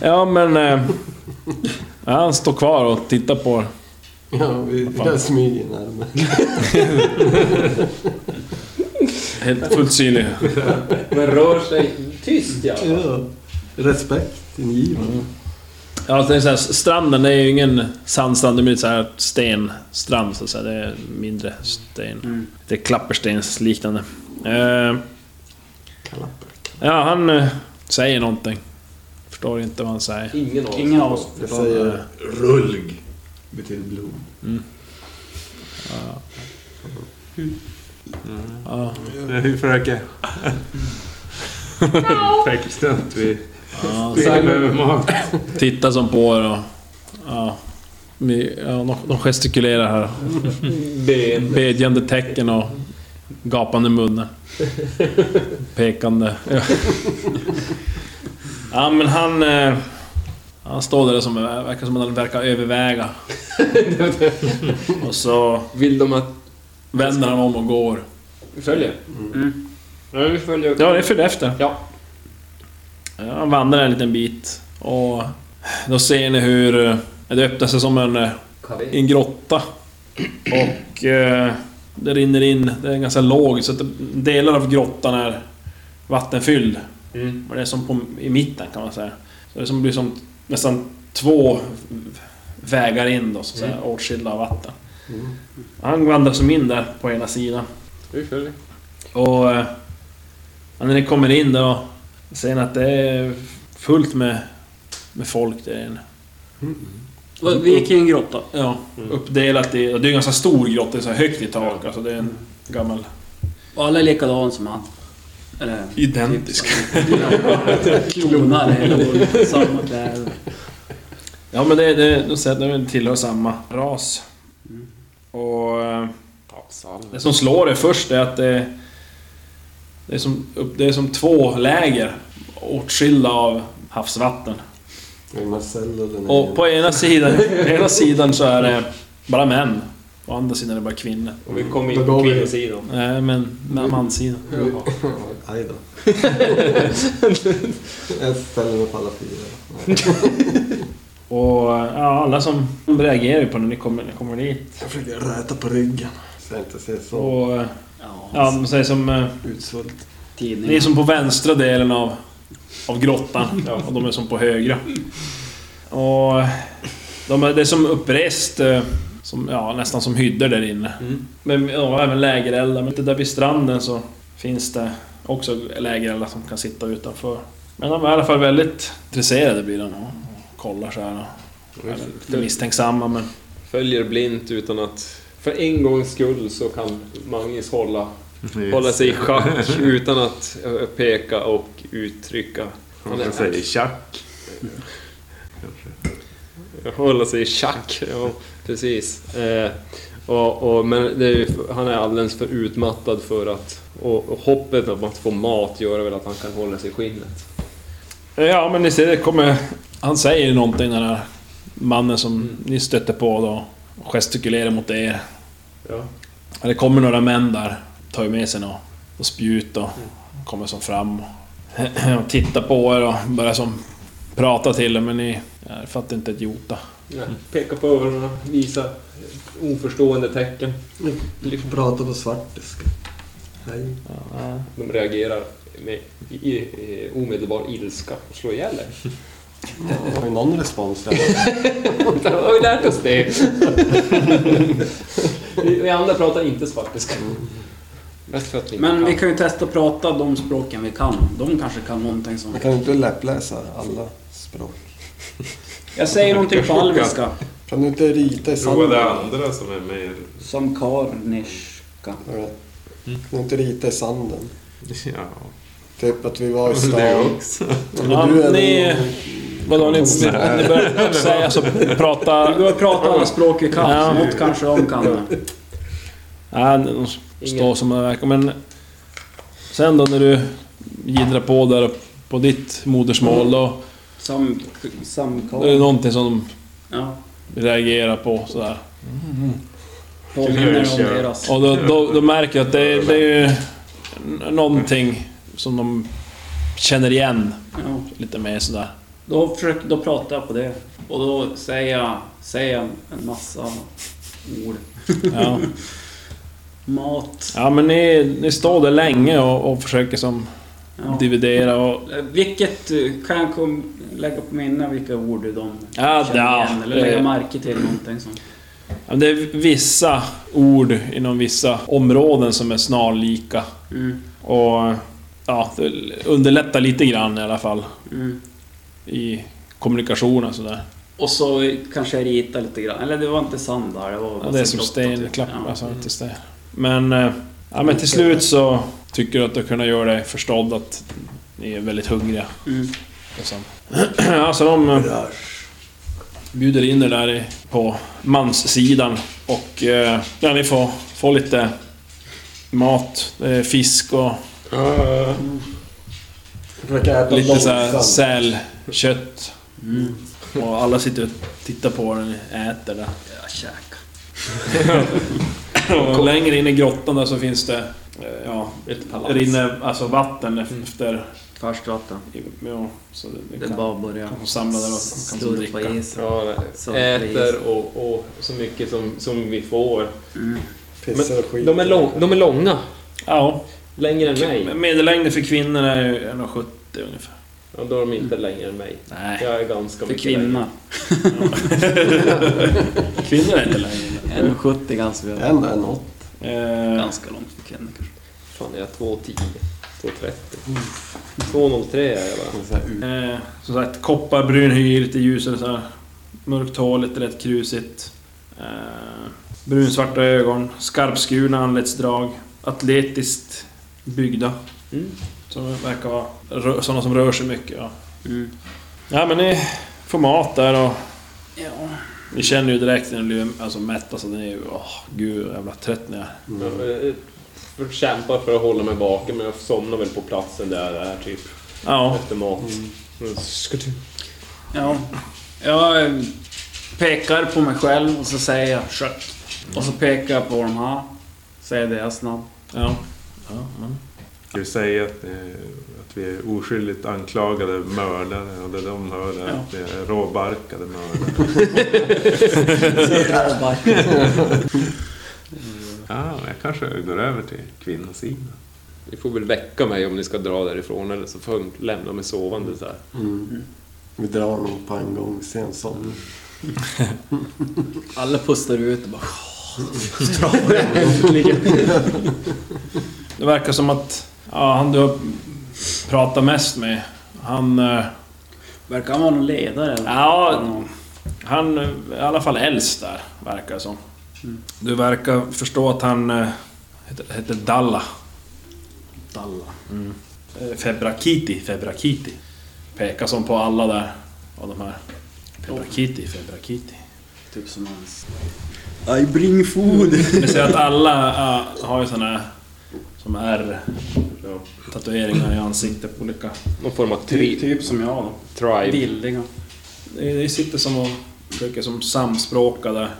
S2: Ja men... Eh, ja, han står kvar och tittar på er.
S4: Ja, vi, jag smyger närmare.
S2: Helt fullt synlig.
S5: Men rör sig tyst i alla fall.
S4: Ja. Mm, Respekt ingivande.
S2: Ja, alltså, det är så här, stranden det är ju ingen sandstrand, det är mer så här stenstrand så att säga. Det är mindre sten.
S6: Mm.
S2: Det är klapperstensliknande. Eh, ja, han eh, säger någonting. Förstår inte vad han säger.
S5: Ingen av
S6: Ingen av oss.
S4: Jag säger
S7: Rulg.
S4: betyder blod.
S2: Ja.
S3: Vi försöker... Fäktstunt. Vi
S2: Ja,
S3: vi behöver mat.
S2: tittar som på er och... Ja, vi- ja, de- de gestikulerar här.
S5: ben.
S2: Bedjande tecken och gapande munnar. Pekande. Ja. ja men han... eh, Han står där som verkar som att han verkar överväga. Och så
S5: Vill de att
S2: vänder han om och går.
S5: vi följer?
S4: Mm.
S5: Mm. Ja, vi följer.
S2: Ja, det är för efter.
S5: Ja.
S2: Han vandrar en liten bit och då ser ni hur eh, det öppnar sig som en eh, i en grotta. Och eh, det rinner in, det är ganska låg så att delar av grottan är vattenfylld.
S5: Mm.
S2: Och det är som på, i mitten kan man säga. Så det är som blir som nästan två vägar in då, så att säga, åtskilda av vatten. Han vandrar som in där på ena sidan.
S5: Vi följer.
S2: Och eh, när ni kommer in då ser ni att det är fullt med, med folk där inne.
S6: Vi gick i en grotta.
S2: Ja, uppdelat i... och Det är en ganska stor grotta, det är så här högt i tak. Alltså det är en gammal...
S6: Och alla är likadana som han. Eller...
S2: Identisk.
S6: Klonar eller samma kläder.
S2: Ja men det, det, de säger att de tillhör samma ras. Och... eh, Det som slår det först är att det... Det är som, upp- det är som två läger. Åtskilda av havsvatten.
S4: Det är Marcel och den
S2: Och på ena sidan, på ena sidan så är det bara män. På andra sidan är det bara kvinnor.
S5: Och vi kommer
S4: Då
S5: in
S4: går
S5: på
S4: vi.
S5: kvinnosidan.
S2: Nej men, men mansidan.
S4: Aj då. Jag ställer mig på alla fyra.
S2: Och eh, ja, alla som reagerar ju på när ni kommer, när ni kommer dit.
S4: Jag försöker räta på ryggen. Så jag inte ser så
S2: Och eh, ja,
S6: Ja,
S2: de säger som... eh,
S4: utsvullt.
S2: Ni är
S6: tidningen.
S2: som på vänstra delen av, av grottan och de är som på högra. Och eh, de är, det är som upprest, eh, som, ja, nästan som hyddor där inne. Men ja, även lägereldar. Men det där vid stranden så finns det också lägereldar som kan sitta utanför. Men de är i alla fall väldigt intresserade blir de och kollar så här. Och, är lite
S5: Mm.
S4: Mm.
S2: misstänksamma men...
S5: Följer blint utan att... För en gångs skull så kan Magnus hålla, hålla sig i schack utan att eh, peka och uttrycka.
S3: Man kan säga tjack.
S5: Hålla sig i schack, ja precis. Eh, och, och, men det är ju, han är alldeles för utmattad för att... Och, och hoppet om att få mat gör väl att han kan hålla sig i skinnet.
S2: Ja, men ni ser, det kommer... Han säger ju någonting den här mannen som ni stötte på då. Och gestikulerar mot er.
S5: Ja.
S2: Ja, Det kommer några män där. Tar ju med sig något, och spjut och kommer som fram. Och tittar på er och börjar som prata till er, men ni ja, fattar inte ett jota.
S5: Ja, peka på öronen, visa oförstående tecken.
S4: Jag pratar på svartiska. Hej.
S5: De reagerar med i, i, i, omedelbar ilska och slår ihjäl dig.
S4: Har ju någon respons där?
S5: Då har vi lärt oss det. vi, vi andra pratar inte svartiska. Mm. Mest för att vi inte
S6: Men
S5: kan.
S6: vi kan ju testa att prata de språken vi kan. De kanske kan någonting som...
S4: Man kan ju inte läppläsa alla språk.
S6: Jag säger någonting på alviska.
S4: Kan du inte rita i
S3: Prova det
S4: sanden?
S3: andra som är mer...
S6: Som karniska.
S4: Hörru, Kan du inte rita i sanden?
S3: Ja,
S4: Typ att vi var i
S3: det
S4: stan.
S3: också.
S2: Ja,
S4: Eller du
S2: ni-
S4: eller
S2: Vadå, ni, ni, ni börjar säga så prata...
S6: Vi börjar prata alla språk vi kan,
S2: Ja.
S6: så något kanske de kan.
S2: Ja, de står som de verkar, men... Sen då när du jiddrar på där på ditt modersmål då.
S6: Sam...
S2: Det är
S6: Samkar...
S2: någonting som
S6: Ja.
S2: de reagerar på sådär.
S6: Påminner om deras.
S2: Och då, då, då märker jag att det, det är ju n- någonting som de känner igen
S6: Ja.
S2: lite mer sådär.
S6: Då, försök, då pratar jag på det. Och då säger jag, säger jag en massa ord.
S2: Ja,
S6: Mat.
S2: ja men ni, ni står där länge och, och försöker som
S6: Ja.
S2: dividera och...
S6: Eh, Vilket eh, kan jag kom, lägga på minne vilka ord de
S2: Ja,
S6: känner
S2: ja, Eh.
S6: igen, eller
S2: det-
S6: lägga märke till någonting sånt.
S2: Ja, Det är vissa ord inom vissa områden som är snarlika.
S6: Mm,
S2: Och ja, det underlättar lite grann i alla fall
S6: mm.
S2: i kommunikationen sådär.
S6: Och så kanske jag ritar lite grann. Eller det var inte sand där, det var
S2: Ja,
S6: bara
S2: det är som
S6: blottat,
S2: sten,
S6: typ.
S2: klapp,
S6: Ja.
S2: alltså inte sten. Men, eh, ja, men till slut så tycker du att du kunnat göra dig förstådd att ni är väldigt hungriga.
S6: Mm.
S2: Liksom. alltså de eh, bjuder in er där i- på manssidan och eh, ja, ni får, får lite mat, eh, fisk och
S4: Försöka äta
S2: lite så här
S4: långsamt.
S2: sälkött.
S6: Mm.
S2: Och alla sitter och tittar på när ni äter det.
S6: Ja, käka.
S2: Och längre in i grottan där så finns det... eh, Ja,
S5: Ett
S2: det rinner alltså vatten efter...
S6: Färskt vatten.
S2: Ja, så det,
S6: Det
S2: det
S6: är
S2: kan,
S6: bara att börja
S2: kan få samla där och kan få
S6: slurpa
S2: dricka.
S6: i sig.
S5: Ja,
S6: Så
S5: äter och, och så mycket som, som vi får.
S6: Mm.
S4: Pissar och skiter.
S5: De är, lång, de är långa.
S2: Ja,
S5: Längre än mig.
S2: medellängden för kvinnor är ju 1,70 ungefär.
S5: Ja, då är de inte längre än mig.
S2: Nej,
S5: Jag är ganska
S6: För
S5: mycket
S6: kvinna.
S2: kvinnor är inte längre.
S6: 1,70 ganska bra.
S4: Ändå en åtta.
S2: Eh,
S6: Ganska långt för kvinnor kanske.
S5: Fan, jag är 2,10. 2,30. 2,03 är jag bara.
S4: Så här ut.
S2: eh, som sagt, kopparbrun hy, lite ljusare så här. Mörkt hår, lite rätt krusigt. Eh, brunsvarta ögon, skarpskurna anletsdrag. Atletiskt byggda.
S5: Mm.
S2: Som verkar vara rö- sådana som rör sig mycket. Ja. ja, men ni får mat där och
S6: Ja.
S2: Ni känner ju direkt när ni blir alltså, mätta så ni är ju... Åh, gud vad jävla trött ni är.
S5: Jag, eh, för- kämpar för att hålla mig vaken, men jag somnar väl på platsen där jag är typ.
S2: Ja.
S5: Efter mat. Mm. Skutu.
S6: Ja. Jag eh, pekar på mig själv och så säger jag kött. Och så pekar jag på de här. Säger deras namn.
S2: Ja. ja men.
S3: Ska vi säga att, eh, att vi är oskyldigt anklagade mördare och det de hör är
S6: Ja.
S3: att vi är råbarkade mördare. Ja, men jag kanske går över till kvinnosidan.
S5: Ni får väl väcka mig om ni ska dra därifrån eller så får ni lämna mig sovande så här.
S4: Mm. Vi drar nog på en gång, sen som.
S6: Alla pustar ut och bara...
S2: Det verkar som att ja, han du har pratat mest med, han... eh,
S6: Verkar han vara någon ledare eller?
S2: Ja,
S6: Någon-
S2: Han är i alla fall äldst där, verkar det som. Du verkar förstå att han eh, heter, heter Dalla. Dalla. Mm. Eh, Febrakiti, Febrakiti. Pekar som på alla där, av de här. Febrakiti, Febrakiti.
S6: Typ som hans... I bring food!
S2: Ni ser att alla eh, har ju såna här som är tatueringar i ansiktet på olika...
S5: Någon form av
S6: Typ,
S5: tri-
S6: typ som jag då.
S5: tribe.
S6: Villiga.
S2: Ni ni sitter som och försöker som samspråka där.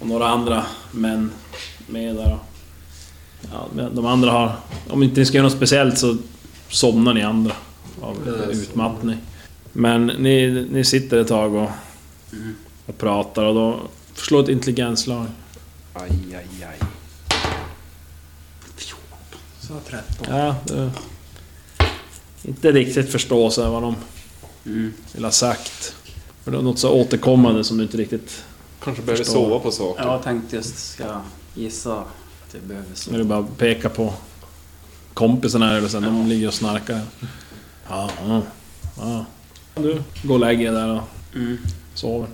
S2: Och några andra män med där. och- Ja, men de andra har... Om inte ni ska göra något speciellt så somnar ni andra av utmattning. Men ni, ni sitter ett tag och,
S5: Mm.
S2: och pratar och då... Slå ett intelligenslag.
S5: Aj, aj, aj.
S2: Ja, det, inte riktigt förstå så här vad de
S6: Mm.
S2: vill ha sagt. För det är något så återkommande som du inte riktigt...
S5: Kanske behöver
S2: Förstår.
S5: sova på saker.
S6: Jag tänkte just ska gissa att jag behöver så.
S2: Nu är det bara att peka på kompisarna här eller sen, de ligger och snarkar. Ja, ja, ja. Du går och lägger er där och
S6: Mm.
S2: sover.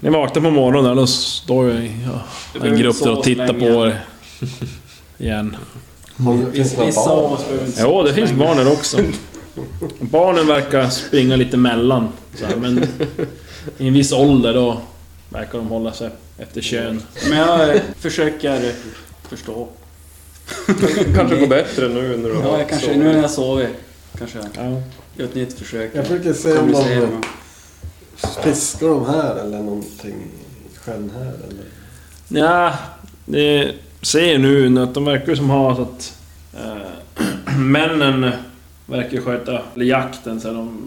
S2: Ni vaknar på morgonen där, då står ju
S6: Du
S2: ja, en
S6: behöver
S2: grupp där
S6: inte sova
S2: och
S6: så
S2: tittar
S6: länge.
S2: på er. Igen.
S4: Finns det några
S6: Vissa
S4: barn?
S6: av oss behöver inte
S2: Jo, det finns barn där också. Barnen verkar springa lite mellan. Så här, men i en viss ålder då verkar de hålla sig efter kön.
S6: Men jag eh, försöker förstå.
S5: Kanske går bättre nu när du
S6: Ja, jag kanske, nu när jag sover, kanske jag
S2: Ja.
S6: gör ett nytt försök.
S4: Jag försöker se om
S6: Kommunicera
S4: de
S6: med
S4: fiskar de här eller någonting i sjön här eller?
S2: Ja, det ser nu att de verkar som ha så att... Eh, männen verkar sköta eller jakten så här, de,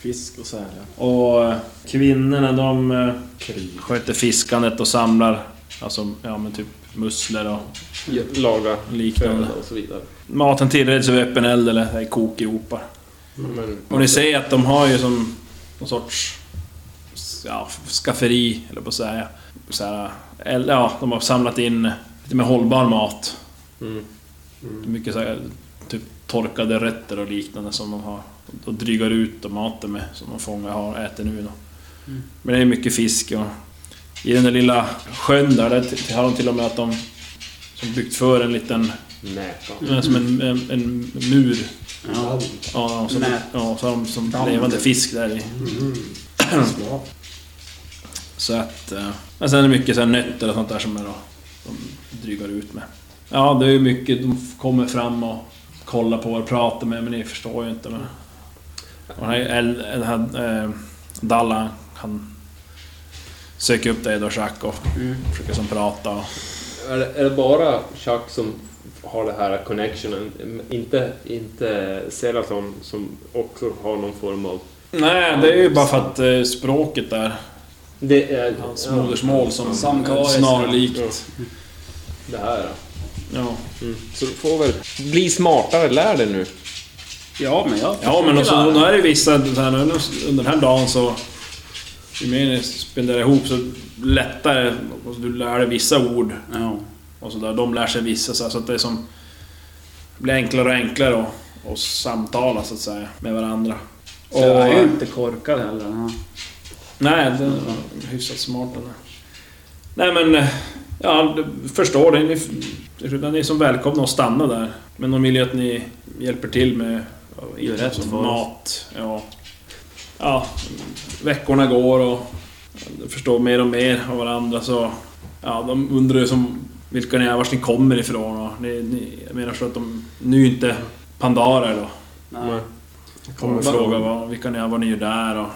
S6: fisk och så här. ja.
S2: och eh, kvinnorna de eh, sköter fiskandet och samlar alltså, ja, men typ musslor och
S5: Laga
S2: liknande.
S5: föda och så vidare.
S2: Maten tillreds över öppen eld eller i kokgropar.
S5: Men
S2: Och ni ser att de har ju som någon sorts ja, skafferi, eller på att säga. Så här, eller, ja, de har samlat in lite mer hållbar mat.
S5: Mm.
S2: Mycket så här, typ torkade rötter och liknande som de har. Och drygar ut och maten med, som de fångar har äter nu då.
S5: Mm.
S2: Men det är mycket fisk och... I den där lilla sjön där, där t- har de till och med att de... Som byggt för en liten...
S5: näta.
S2: Som en, en, en mur
S6: Ja.
S2: Ja, så,
S6: Nej.
S2: ja, så har de som
S6: Damm.
S2: levande fisk där i. Så att... eh, Men sen är det mycket så här nötter och sånt där som är då, de drygar ut med. Ja, det är ju mycket. De kommer fram och kollar på vad de pratar med, men ni förstår ju inte. Men... Och den här, el- den här eh, Dalla, han söker upp dig då, Jack, och försöker som prata. Och...
S5: Är, det- är det bara Chuck som har det här connectionen? Inte, inte Seraton som också har någon form av...
S2: Nej, det är ju bara för att eh, språket där,
S5: Det är...
S2: hans
S5: ja,
S2: modersmål, som är
S6: Samkaris.
S2: snarlikt.
S5: Det här.
S2: Ja.
S5: Mm. Så du får väl bli smartare, lär dig nu.
S6: ja, men jag
S2: Ja, men alltså,
S6: försöker
S2: också, nu
S6: lära mig.
S2: är det vissa, så här, nu under den här dagen så... Ju mer ni spenderar ihop så lättare, och du lär dig vissa ord
S6: Ja.
S2: och sådär. De lär sig vissa så, här, så att det är som... Blir enklare och enklare och, och samtala så att säga med varandra. Och,
S6: Jag är ju inte korkad heller. ja.
S2: Nej, den är hyfsat smart den där. Nej men, eh, ja, du förstår det. Ni, ni är som välkomna att stanna där. Men de vill ju att ni hjälper till med
S6: Gör rätt
S2: som
S6: för oss.
S2: mat. Ja. ja, veckorna går och du förstår mer och mer av varandra så... Ja, de undrar ju som vilka ni är, vart ni kommer ifrån och ni, ni, jag menar så att de... Nu är ju inte pandarer då.
S6: Nej.
S2: Kommer fråga vad, vilka ni är, vad ni gör där och...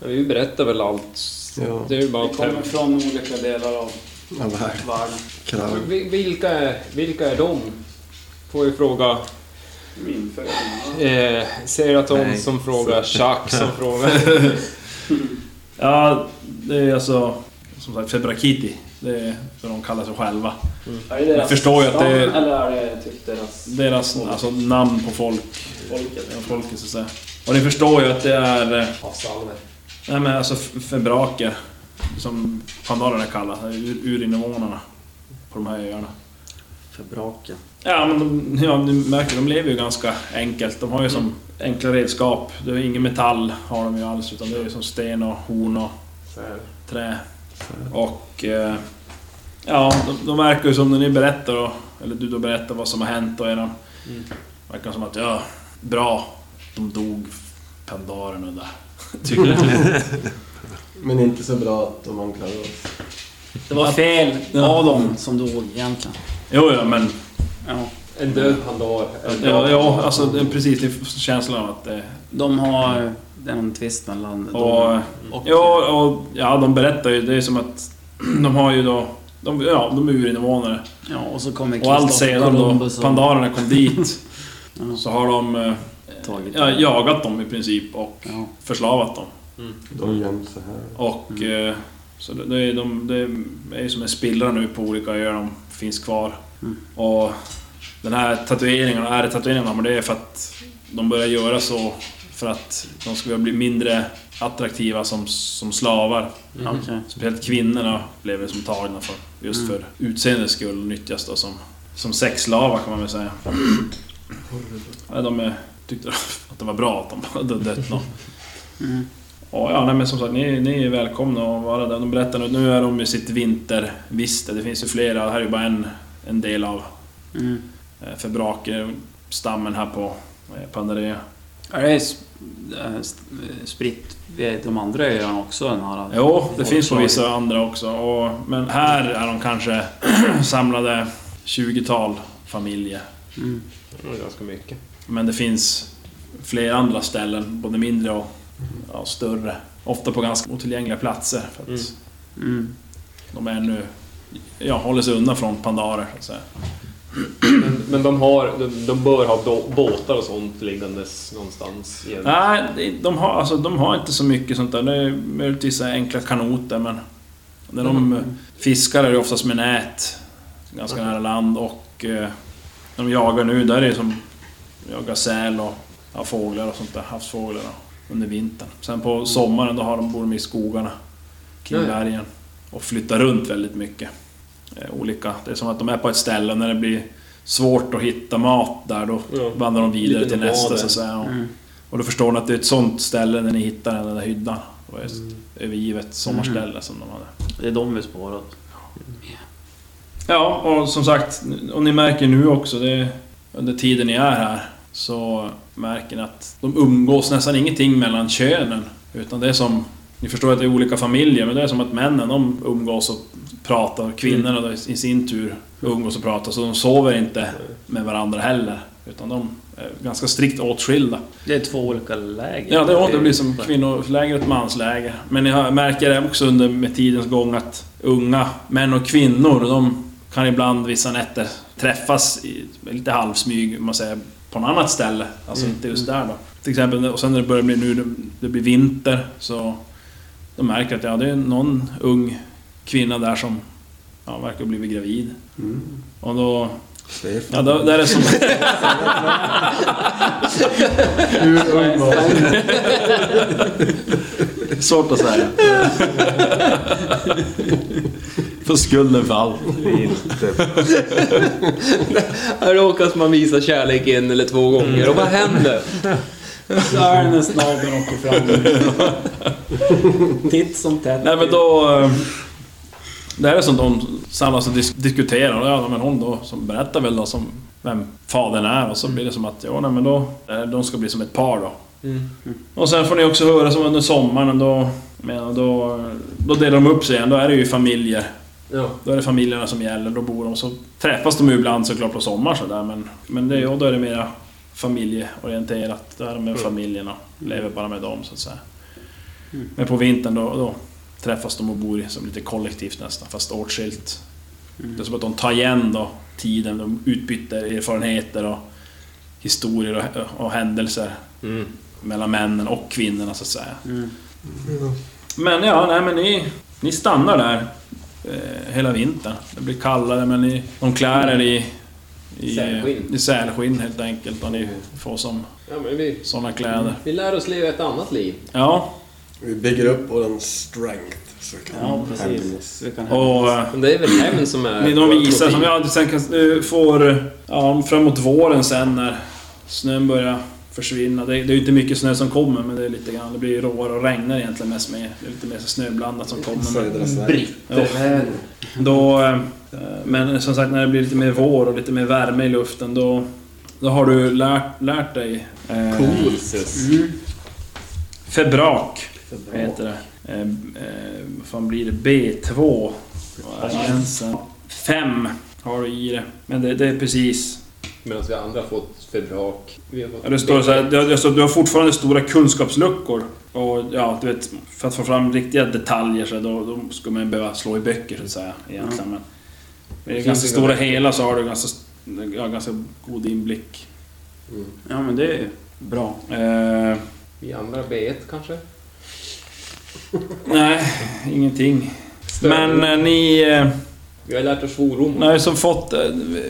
S5: Ja, Vi berättar väl allt.
S4: Ja,
S5: Det är ju bara
S6: Vi kommer från olika delar av
S4: av världen.
S6: världen.
S4: Krav.
S5: Vi- Vilka är, vilka är de? får ju fråga
S6: Min fördel.
S5: eh, Seraton
S3: Nej,
S5: som frågar, Chuck som frågar.
S2: Ja, det är alltså... Som sagt, Febrakiti. Det är vad de kallar sig själva.
S6: Är det deras
S2: förstår ju att det är-
S6: stam, Eller är det typ deras
S2: Deras alltså, namn på folk.
S6: folket?
S2: ja, Folket, så att säga. Och ni förstår ju att det är... eh,
S5: Avsalver.
S2: Nej men alltså f- febraker. Som pandorerna kallas. Ur, urinvånarna. På de här öarna.
S6: För braken.
S2: Ja, men de, ja, ni märker, de lever ju ganska enkelt. De har ju som enkla redskap. Det är ingen metall har de ju alls, utan det är ju som sten och horn och trä. Och... Eh, ja, de, de verkar ju som när ni berättar, och, eller du då berättar vad som har hänt och eran... Verkar som att, ja, bra. De dog, pandarerna där. Tydligen.
S4: Men inte så bra att de anklagar oss.
S6: Det var fel
S2: Ja.
S6: av dem som dog egentligen.
S2: jo, ja, men...
S6: Ja.
S5: En död pandar. en
S2: Ja,
S5: död
S2: ja
S5: pandar.
S2: alltså det är precis. Det är känslan av att... Eh,
S6: De har... Det är någon tvist mellan... dem.
S2: och,
S6: och
S2: Ja, och, ja, de berättar ju. Det är som att de har ju då... De, ja, de är urinvånare.
S6: ja, och så kommer
S2: Och allt
S6: Christopher
S2: sedan då
S6: Columbus och-
S2: pandarerna kom dit
S6: Ja.
S2: så har de eh,
S6: Tagit
S2: ja, jagat dem i princip och
S6: Ja.
S2: förslavat dem.
S4: De gömmer sig här.
S2: Och eh, så det, det, är, de, det är ju som en spillra nu på olika öar de finns kvar.
S6: Mm.
S2: Och den här tatueringen, R-tatueringen men det är för att de börjar göra så för att de ska bli mindre attraktiva som, som slavar.
S6: Okej.
S2: Speciellt kvinnorna blev väl som tagna för, just för utseendets skull och nyttjas då som, som sexslavar kan man väl säga. Ja, de eh, tyckte att det var bra att de hade dött någon.
S6: Mm.
S2: Och ja, nej, men som sagt, ni, ni är välkomna att vara där. De berättar nu, nu är de i sitt vinterviste. Det finns ju flera, det här är ju bara en, en del av
S6: Mm.
S2: eh, Febrake-stammen här på eh, Pandarea.
S6: Är det sp- eh, st- eh, spritt vid de andra öarna också? Den här,
S2: Jo, det finns på vissa andra också. Och, men här är de kanske samlade 20-tal familjer.
S6: Mm.
S5: Det var ganska mycket.
S2: Men det finns flera andra ställen, både mindre och ja, större. Ofta på ganska otillgängliga platser. För att
S5: Mm.
S6: Mm.
S2: De är nu, ja, håller sig undan från pandarer. Så att säga.
S5: Men, men de, har, de, de bör ha då, båtar och sånt liggandes någonstans. Igen.
S2: Nej, det- de har, alltså, de har inte så mycket sånt där. Det är möjligtvis så här enkla kanoter, men... När de
S5: Mm.
S2: eh, fiskar är det oftast med nät. Ganska nära land och... eh, När de jagar nu, där är det som... Jagar säl och ja, fåglar och sånt där. Havsfåglar och, under vintern. Sen på sommaren, då har de, bor de i skogarna. Kring
S5: Mm. Ja, ja.
S2: bergen. Och flyttar runt väldigt mycket. Eh, Olika. Det är som att de är på ett ställe och när det blir svårt att hitta mat där, då
S5: Ja.
S2: vandrar de vidare
S5: Lite
S2: till nästa
S5: nomader.
S2: så att säga. Och-
S6: Mm.
S2: och då förstår ni att det är ett sånt ställe när ni hittar den där hyddan. Det var ett övergivet sommarställe som de hade.
S6: Det är de vi spårar åt.
S2: Ja, och som sagt, och ni märker nu också, det, under tiden ni är här, så märker ni att de umgås nästan ingenting mellan könen. Utan det är som, ni förstår att det är olika familjer, men det är som att männen de umgås och pratar, och kvinnorna då i sin tur umgås och pratar, så de sover inte med varandra heller. Utan de är ganska strikt åtskilda.
S6: Det är två olika läger.
S2: Ja, det, var, det blir som kvinnoläger och ett mansläger. Men jag märker det också under med tidens gång att unga män och kvinnor, de kan ibland vissa nätter träffas i, lite halvsmyg, om man säger, på något annat ställe. Alltså inte just där då. Till exempel, och sen när det börjar bli nu, det- det blir vinter, så de märker att ja, det är någon ung kvinna där som ja, verkar ha blivit gravid. Och då... Ja, då, där är det som...
S4: Hur ung var hon?
S2: Svårt att säga. För skulden för allt.
S5: Här råkas man visa kärlek en eller två gånger och vad händer?
S6: Så är det när snabeln åker fram. Titt som tätt.
S2: Nej men då... eh, Det här är som de samlas och dis- diskuterar. Ja, men hon då som berättar väl då som vem fadern är och så blir det som att ja, nej, men då... eh, De ska bli som ett par då. Och sen får ni också höra som under sommaren då... Men då, då delar de upp sig igen. Då är det ju familjer.
S5: Ja.
S2: Då är det familjerna som gäller. Då bor de. Så träffas de ju ibland såklart på sommaren sådär. Men, men det, ja, då är det mera familjeorienterat. Då är de med familjerna. Lever bara med dem så att säga. Men på vintern då, då
S5: Mm.
S2: träffas de och bor i som lite kollektivt nästan, fast åtskilt. Det är som att de tar igen då tiden. De utbytte erfarenheter och historier och, och händelser
S5: Mm.
S2: mellan männen och kvinnorna så att säga. Men ja, nej men ni, ni stannar där eh, hela vintern. Det blir kallare men ni, de klär er i, i
S5: Sälskinn. Mm.
S2: i sälskinn helt enkelt och ni får som
S5: Ja, men vi,
S2: sådana kläder.
S5: vi lär oss leva ett annat liv.
S2: Ja,
S4: Vi bygger upp våran strength. Så kan
S6: Ja, precis. Vi kan
S2: och eh,
S5: Men det är väl hämnd som är...
S2: ni de
S5: vårt
S2: visar som
S5: motiv.
S2: jag sen kan, eh, får ja, framåt våren sen när snön börjar försvinna. Det, det är ju inte mycket snö som kommer men det är lite grann. Det blir råare och regnar egentligen mest med. Det är lite mer så snöblandat som kommer. Men,
S4: Södra Sverige.
S2: ja. Då, eh, men som sagt, när det blir lite mer vår och lite mer värme i luften då, då har du lärt, lärt dig... Eh,
S5: Jesus.
S2: mm. Febrak heter det. Eh, eh, vad fan blir det? B2 Vad är gränsen. 5 har du i det. Men det, det är precis...
S5: Medan vi andra har fått förbrak. Vi har fått
S2: Ja, det står så här, du, alltså, du har fortfarande stora kunskapsluckor. Och ja, du vet, för att få fram riktiga detaljer så här, då, då skulle man behöva slå i böcker så att säga. Egentligen. Men med det
S5: Finns
S2: ganska
S5: det
S2: stora
S5: några-
S2: hela så har du ganska, ja, ganska god inblick.
S6: Mm. Ja, men det är ju bra.
S2: Eh,
S5: Vi andra B1 kanske?
S2: nej, ingenting.
S5: Större.
S2: Men eh, ni... Eh,
S5: Vi har lärt oss svordomar.
S2: ni har ju som fått... Eh,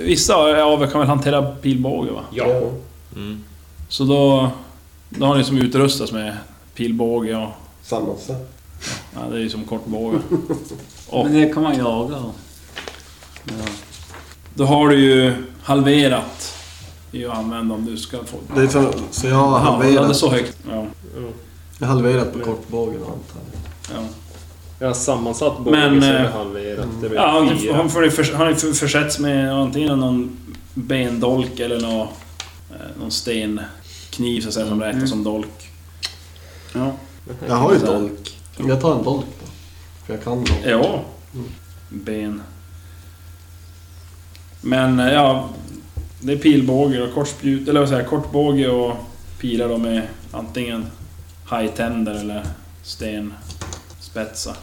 S2: vissa av er kan väl hantera pilbåge va?
S5: Ja.
S3: Mm.
S2: Så då... Då har ni som utrustats med pilbåge och...
S4: Sammansatt.
S2: Ja, det är ju som kortbåge. Och
S6: Men det kan man jaga och... Ja.
S2: Då har du ju halverat i att använda om du ska få...
S4: Det är så, så jag har
S2: Jaha, du hade
S4: halverat,
S2: så högt. Ja,
S4: jag har halverat på kortbågen antar jag.
S2: ja.
S5: Jag har sammansatt båge
S2: Men,
S5: så det
S2: eh,
S5: halverat. Det blir
S2: ja han,
S5: fyra.
S2: han, får, ju förs- han har ju för- försetts med antingen någon bendolk eller någon, eh, någon stenkniv så att säga, som
S4: Mm.
S2: räknas som dolk.
S6: ja.
S4: Jag har ju dolk. Jag tar en dolk då. För jag kan dolk.
S2: Ja. Ben. Men eh, ja, det är pilbåge och kortspjut, eller vad säger jag, kortbåge och pilar då med antingen hajtänder eller stenspetsar.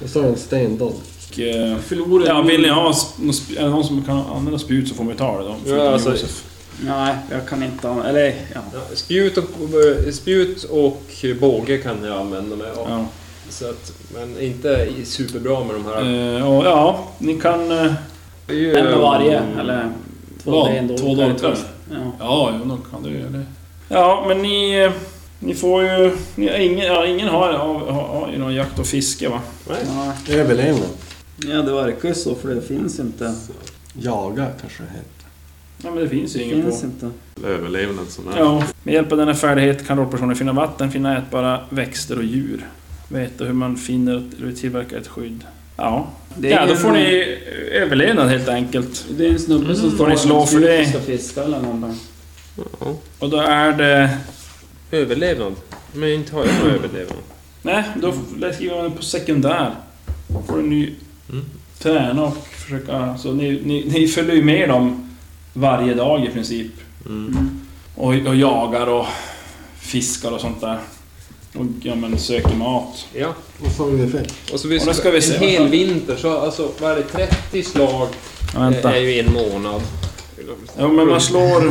S4: Jag står en stendolk.
S2: Och, eh,
S5: Förlorade
S2: Ja,
S5: du-
S2: vill ni ha sp- någon sp- är det någon som kan använda spjut så får man ju ta det då. förutom
S5: alltså-
S2: Josef.
S6: Nej, jag kan inte ha... Eller ja.
S5: Ja, Spjut och, eh, spjut och båge kan jag använda mig av.
S2: Ja.
S5: Så att, men inte i- superbra med de här.
S2: Eh, och, ja, ni kan... eh,
S5: Det är ju-
S6: En av varje, eller?
S2: Vad?
S6: det är en dolk,
S2: Två
S6: eller
S2: dolkar?
S6: två- Ja.
S2: Ja, jo, nog kan du göra det. Ja, men ni... eh, Ni får ju... Ni har ingen, ja, ingen har, har, har, har ju någon jakt och fiske va?
S5: Nej.
S6: Ja.
S4: Överlevnad.
S6: ja, det verkar ju så för det finns inte.
S4: Jaga kanske det heter.
S2: Ja, men det finns ju
S6: Det
S2: inget på.
S6: finns inte.
S3: Överlevnad som är.
S2: Ja, med hjälp av denna färdighet kan rollpersoner finna vatten, finna ätbara växter och djur. Veta hur man finner ett- eller tillverkar ett skydd. Ja,
S6: Det är
S2: ja då
S6: ju
S2: får
S6: en-
S2: ni överlevnad helt enkelt.
S6: Det är en snubbe
S5: Mm.
S6: som
S2: Får
S6: står
S2: ni
S6: och
S2: slå för
S6: spjut och
S2: det?
S6: ska fiska eller någonting.
S2: Och då är det...
S5: Överlevnad. Men inte har jag någon överlevnad.
S2: Nej, då f- skriver man på sekundär. Då får ni ju träna och försöka... Så ni, ni, ni följer ju med dem varje dag i princip. Mm. Och, och jagar och fiskar och sånt där. Och ja, men söker mat.
S5: Ja.
S4: Vad sa du för?
S5: Och så vi
S2: Och då ska vi se.
S5: en hel vinter så alltså, vad är det? 30 slag eh,
S2: Vänta.
S5: är ju en månad.
S2: Ja, men man slår...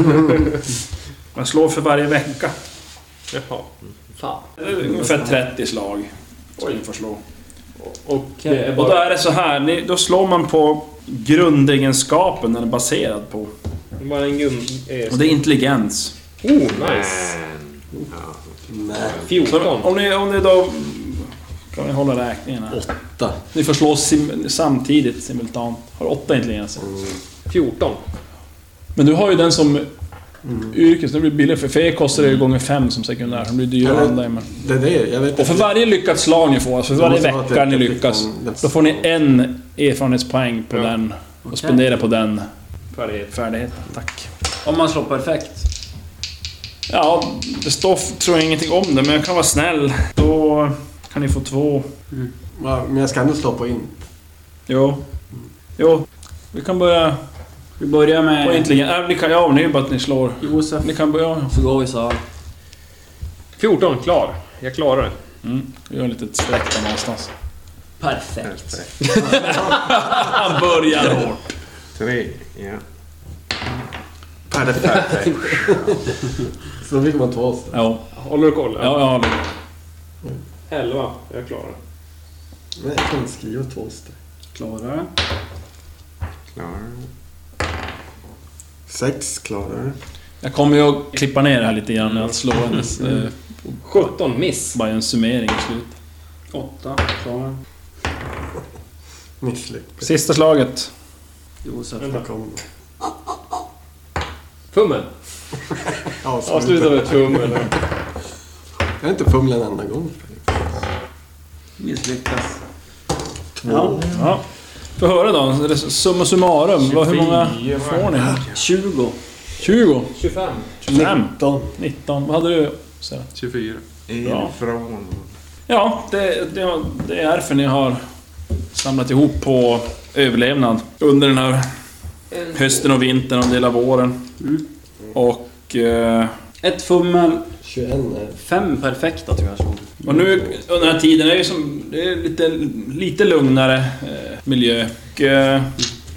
S2: Man slår för varje vecka.
S5: Jaha. Fan.
S2: Det är Ungefär 30 slag. Ska ni få slå.
S5: Och det är
S2: Och då
S5: bara...
S2: är det så här, ni, då slår man på grundegenskapen den är baserad på.
S5: Bara en gum... eh,
S2: Och det är intelligens.
S5: Oh, nice!
S4: Nej.
S5: 14.
S2: Om ni, om ni då... Kan vi hålla räkningen här?
S4: Åtta.
S2: Ni får slå sim, samtidigt, simultant. Har åtta intelligenser.
S5: 14.
S2: Men du har ju den som yrke, så det blir billigare. För för er kostar det ju gånger fem som sekundär, så det blir dyrare
S4: Ja,
S2: att
S4: men-
S2: använda. men-
S4: Det är det. Jag vet
S2: Och för
S4: inte.
S2: varje lyckat slag ni får, alltså för
S4: Jag
S2: varje
S4: måste ha
S2: vecka
S4: ett
S2: ni
S4: lyckat
S2: lyckas,
S4: slag.
S2: då får ni en erfarenhetspoäng på den. Och spendera på den
S5: Färdighet.
S2: färdigheten. Tack.
S6: Om man slår perfekt.
S2: Ja, det står tror jag ingenting om det, men jag kan vara snäll. Då kan ni få två.
S4: Ja, Men jag ska ändå slå på in.
S2: Jo. Jo. Vi kan börja
S6: Vi börjar
S2: på
S6: med
S2: intelligens. Äh, ni kan, ja, nu är det bara att ni slår.
S6: Josef.
S2: Ni kan börja...
S6: Så går vi så här.
S5: 14, klar. Jag klarar det.
S2: Mm. Vi gör ett litet streck där någonstans.
S6: Perfekt.
S2: Han börjar hårt.
S3: Tre. Ja.
S4: Så fick man två straff.
S2: Ja,
S5: Håller du koll?
S2: ja, ja. det-
S5: 11. Jag klarar.
S4: Nej, jag kan skriva två straff.
S6: Klarar det.
S3: Klar.
S4: Sex klarar
S2: Jag kommer ju att klippa ner det här lite grann, att slå hennes... Eh,
S5: 17. Miss.
S2: bara en summering i slutet.
S6: Åtta. Klarar
S4: Misslyckas.
S2: Sista slaget.
S6: Josef.
S5: Vänta.
S4: Kom.
S5: Tummen. Avsluta
S4: Avsluta.
S5: med tummen.
S4: Jag har inte fumlat en enda gång.
S6: Misslyckas.
S2: Ja. ja. Få höra då, res- summa summarum. Vad- Hur många får ni?
S6: 20.
S2: 20?
S5: 25.
S2: 25?
S4: 19.
S2: 19? Vad hade du? Så.
S3: 24.
S2: Bra.
S3: Ifrån.
S2: Ja, det, det, det är därför ni har samlat ihop på överlevnad under den här hösten och vintern och en del av våren. Och... Eh,
S6: Ett fummel.
S4: 21 är...
S6: Fem perfekta tror jag slog.
S2: Och nu under den här tiden är det, som, det är lite, lite lugnare eh, miljö. Och, eh,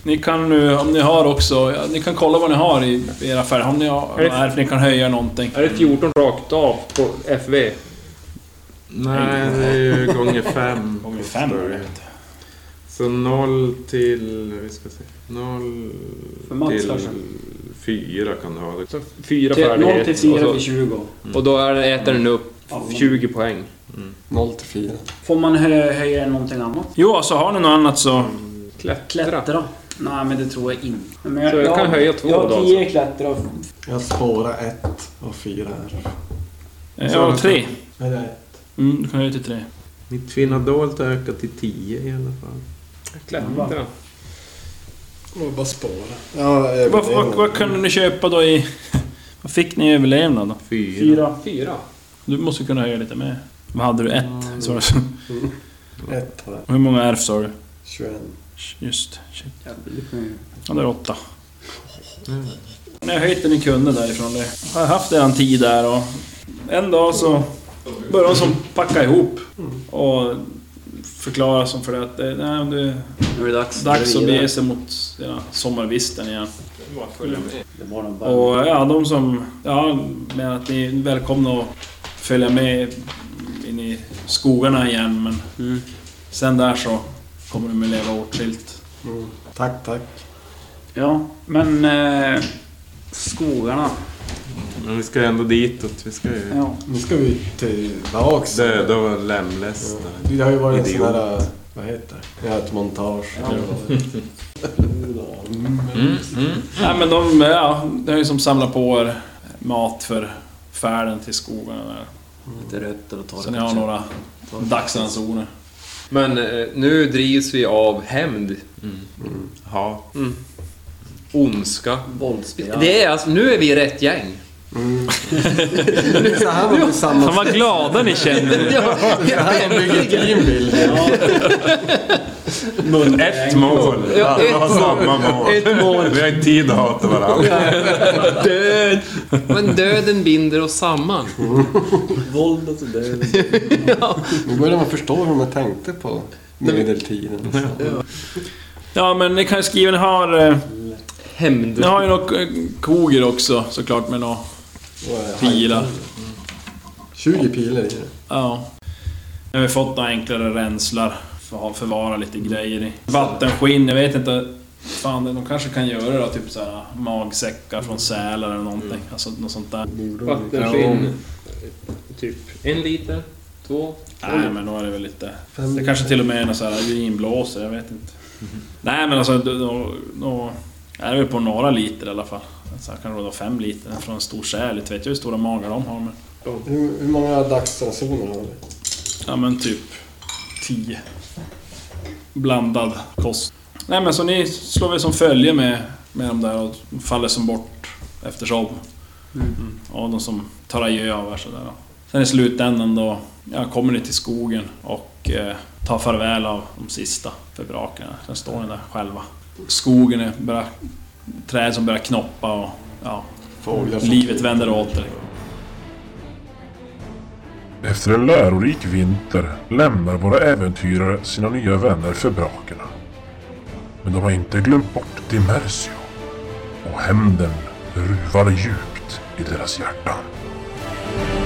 S2: ni kan nu, om ni har också, ja, ni kan kolla vad ni har i, i era affärer. Om ni har
S5: Är det-
S2: är för ni kan höja någonting.
S5: Är det 14 rakt av på FV?
S3: Nej, det är ju gånger fem.
S2: Gånger fem,
S3: Då är det. Så noll till... Vi ska se. Noll
S6: För Mats
S3: till
S6: kanske.
S3: fyra kan du ha. det.
S5: Så fyra
S6: Till- 0
S5: färdighet.
S6: till 4
S5: och,
S6: blir 20.
S5: så, och då är det, äter den upp
S6: Ja.
S5: 20 poäng.
S4: 0 till 4.
S6: Får man hö- höja någonting annat?
S2: Jo, så har ni något annat så...
S5: Mm. Klättra.
S6: Klättra? Nej, men det tror jag inte. Men
S5: Så jag kan höja två
S6: Jag
S5: då,
S6: har
S5: alltså.
S6: 10 klättra.
S4: Jag spårar 1 och 4 här.
S2: eh, Ja, tre.
S4: Är det ett?
S2: Mm, du kan höja till tre.
S3: Mitt finadolt har ökat till tio i alla fall.
S5: Klättra.
S4: Jag bara spåra. Ja, eh,
S2: Vad,
S4: det är
S2: vad,
S4: nog-
S2: vad kunde ni köpa då i... Vad fick ni i överlevnad då?
S3: Fyra.
S5: Fyra.
S2: Du måste ju kunna höja lite mer. Vad hade du?
S5: Mm.
S2: Ett? Så var det så.
S4: Ett har jag.
S2: Hur många ärv sa du?
S4: 21.
S2: Just, shit. Ja, det är åtta. Ni har höjt det ni kunde därifrån. Det har haft en tid där och en dag så började de som packa ihop och förklara som för det att det, nej, det är
S6: Nu är det dags.
S2: dags att
S6: gå
S2: bege
S6: vidare.
S2: sig mot den här sommarvisten igen.
S6: Det var nog bara-
S2: Och ja, de som... Ja, men att ni är välkomna att följa med in i skogarna igen men
S6: Mm.
S2: sen där så kommer de att leva åtskilt.
S4: Mm. Tack, tack.
S6: Ja, men... Eh, skogarna.
S3: Men vi ska ju ändå ditåt. Vi ska ju
S6: Ja.
S4: Nu ska vi tillbaks.
S3: döda och lemlästa.
S4: Det har ju varit en
S3: Idiot.
S4: sån här... eh, Vad heter det? Ja, ett montage.
S2: Nej men de, ja, de har ju som samlat på er mat för färden till skogarna där.
S6: Lite rötter och
S2: Så ni har
S6: torkat.
S2: några dagsransoner.
S5: Men eh, nu drivs vi av hämnd.
S3: Ha.
S5: Ondska.
S6: Våldsspel.
S5: Det är alltså, nu är vi rätt gäng.
S4: Så här var vi samma...
S2: vad glada ni känner
S3: Ett mål!
S5: Ja, ett
S3: Alla har samma mål.
S5: Ett mål.
S3: Vi har inte tid att hata varandra.
S5: Död! Men döden binder oss samman.
S6: Våldet och döden.
S4: Nu börjar man förstå hur man tänkte på medeltiden.
S2: Ja men ni kan ju skriva, ni har... eh,
S5: Hämnd.
S2: Ni har ju något eh, koger också såklart med några
S4: Och, eh,
S2: pilar.
S4: 20 pilar i det.
S2: Ja. Nu har vi fått några enklare renslar för att förvara lite grejer i. Vattenskinn, jag vet inte. Fan, de kanske kan göra då, typ så här magsäckar från sälar eller någonting. Alltså något sånt där.
S5: Vattenskinn. Typ en liter. Två.
S2: Nej, men då är det väl lite... Det kanske till och med är någon sån här urinblåsor, jag vet inte. Nej, men alltså... Då, då, då är det väl på några liter i alla fall. Så här kan det vara fem liter från en stor säl. Inte vet jag hur stora magar de har, men...
S4: Hur, hur många dagsransoner har vi?
S2: Ja, men typ 10. Blandad kost. Nej, men så ni slår väl som följe med, med de där och faller som bort eftersom. Mm. Och de som tar adjö av er sådär. då. Sen i slutändan då ja, kommer ni till skogen och eh, tar farväl av de sista förbrakarna. Sen står ni där själva. Skogen är bara träd som börjar knoppa och ja,
S4: Fåglar som-
S2: livet vänder åter.
S1: Efter en lärorik vinter lämnar våra äventyrare sina nya vänner för brakerna. Men de har inte glömt bort Dimersio, och hämnden ruvar djupt i deras hjärtan.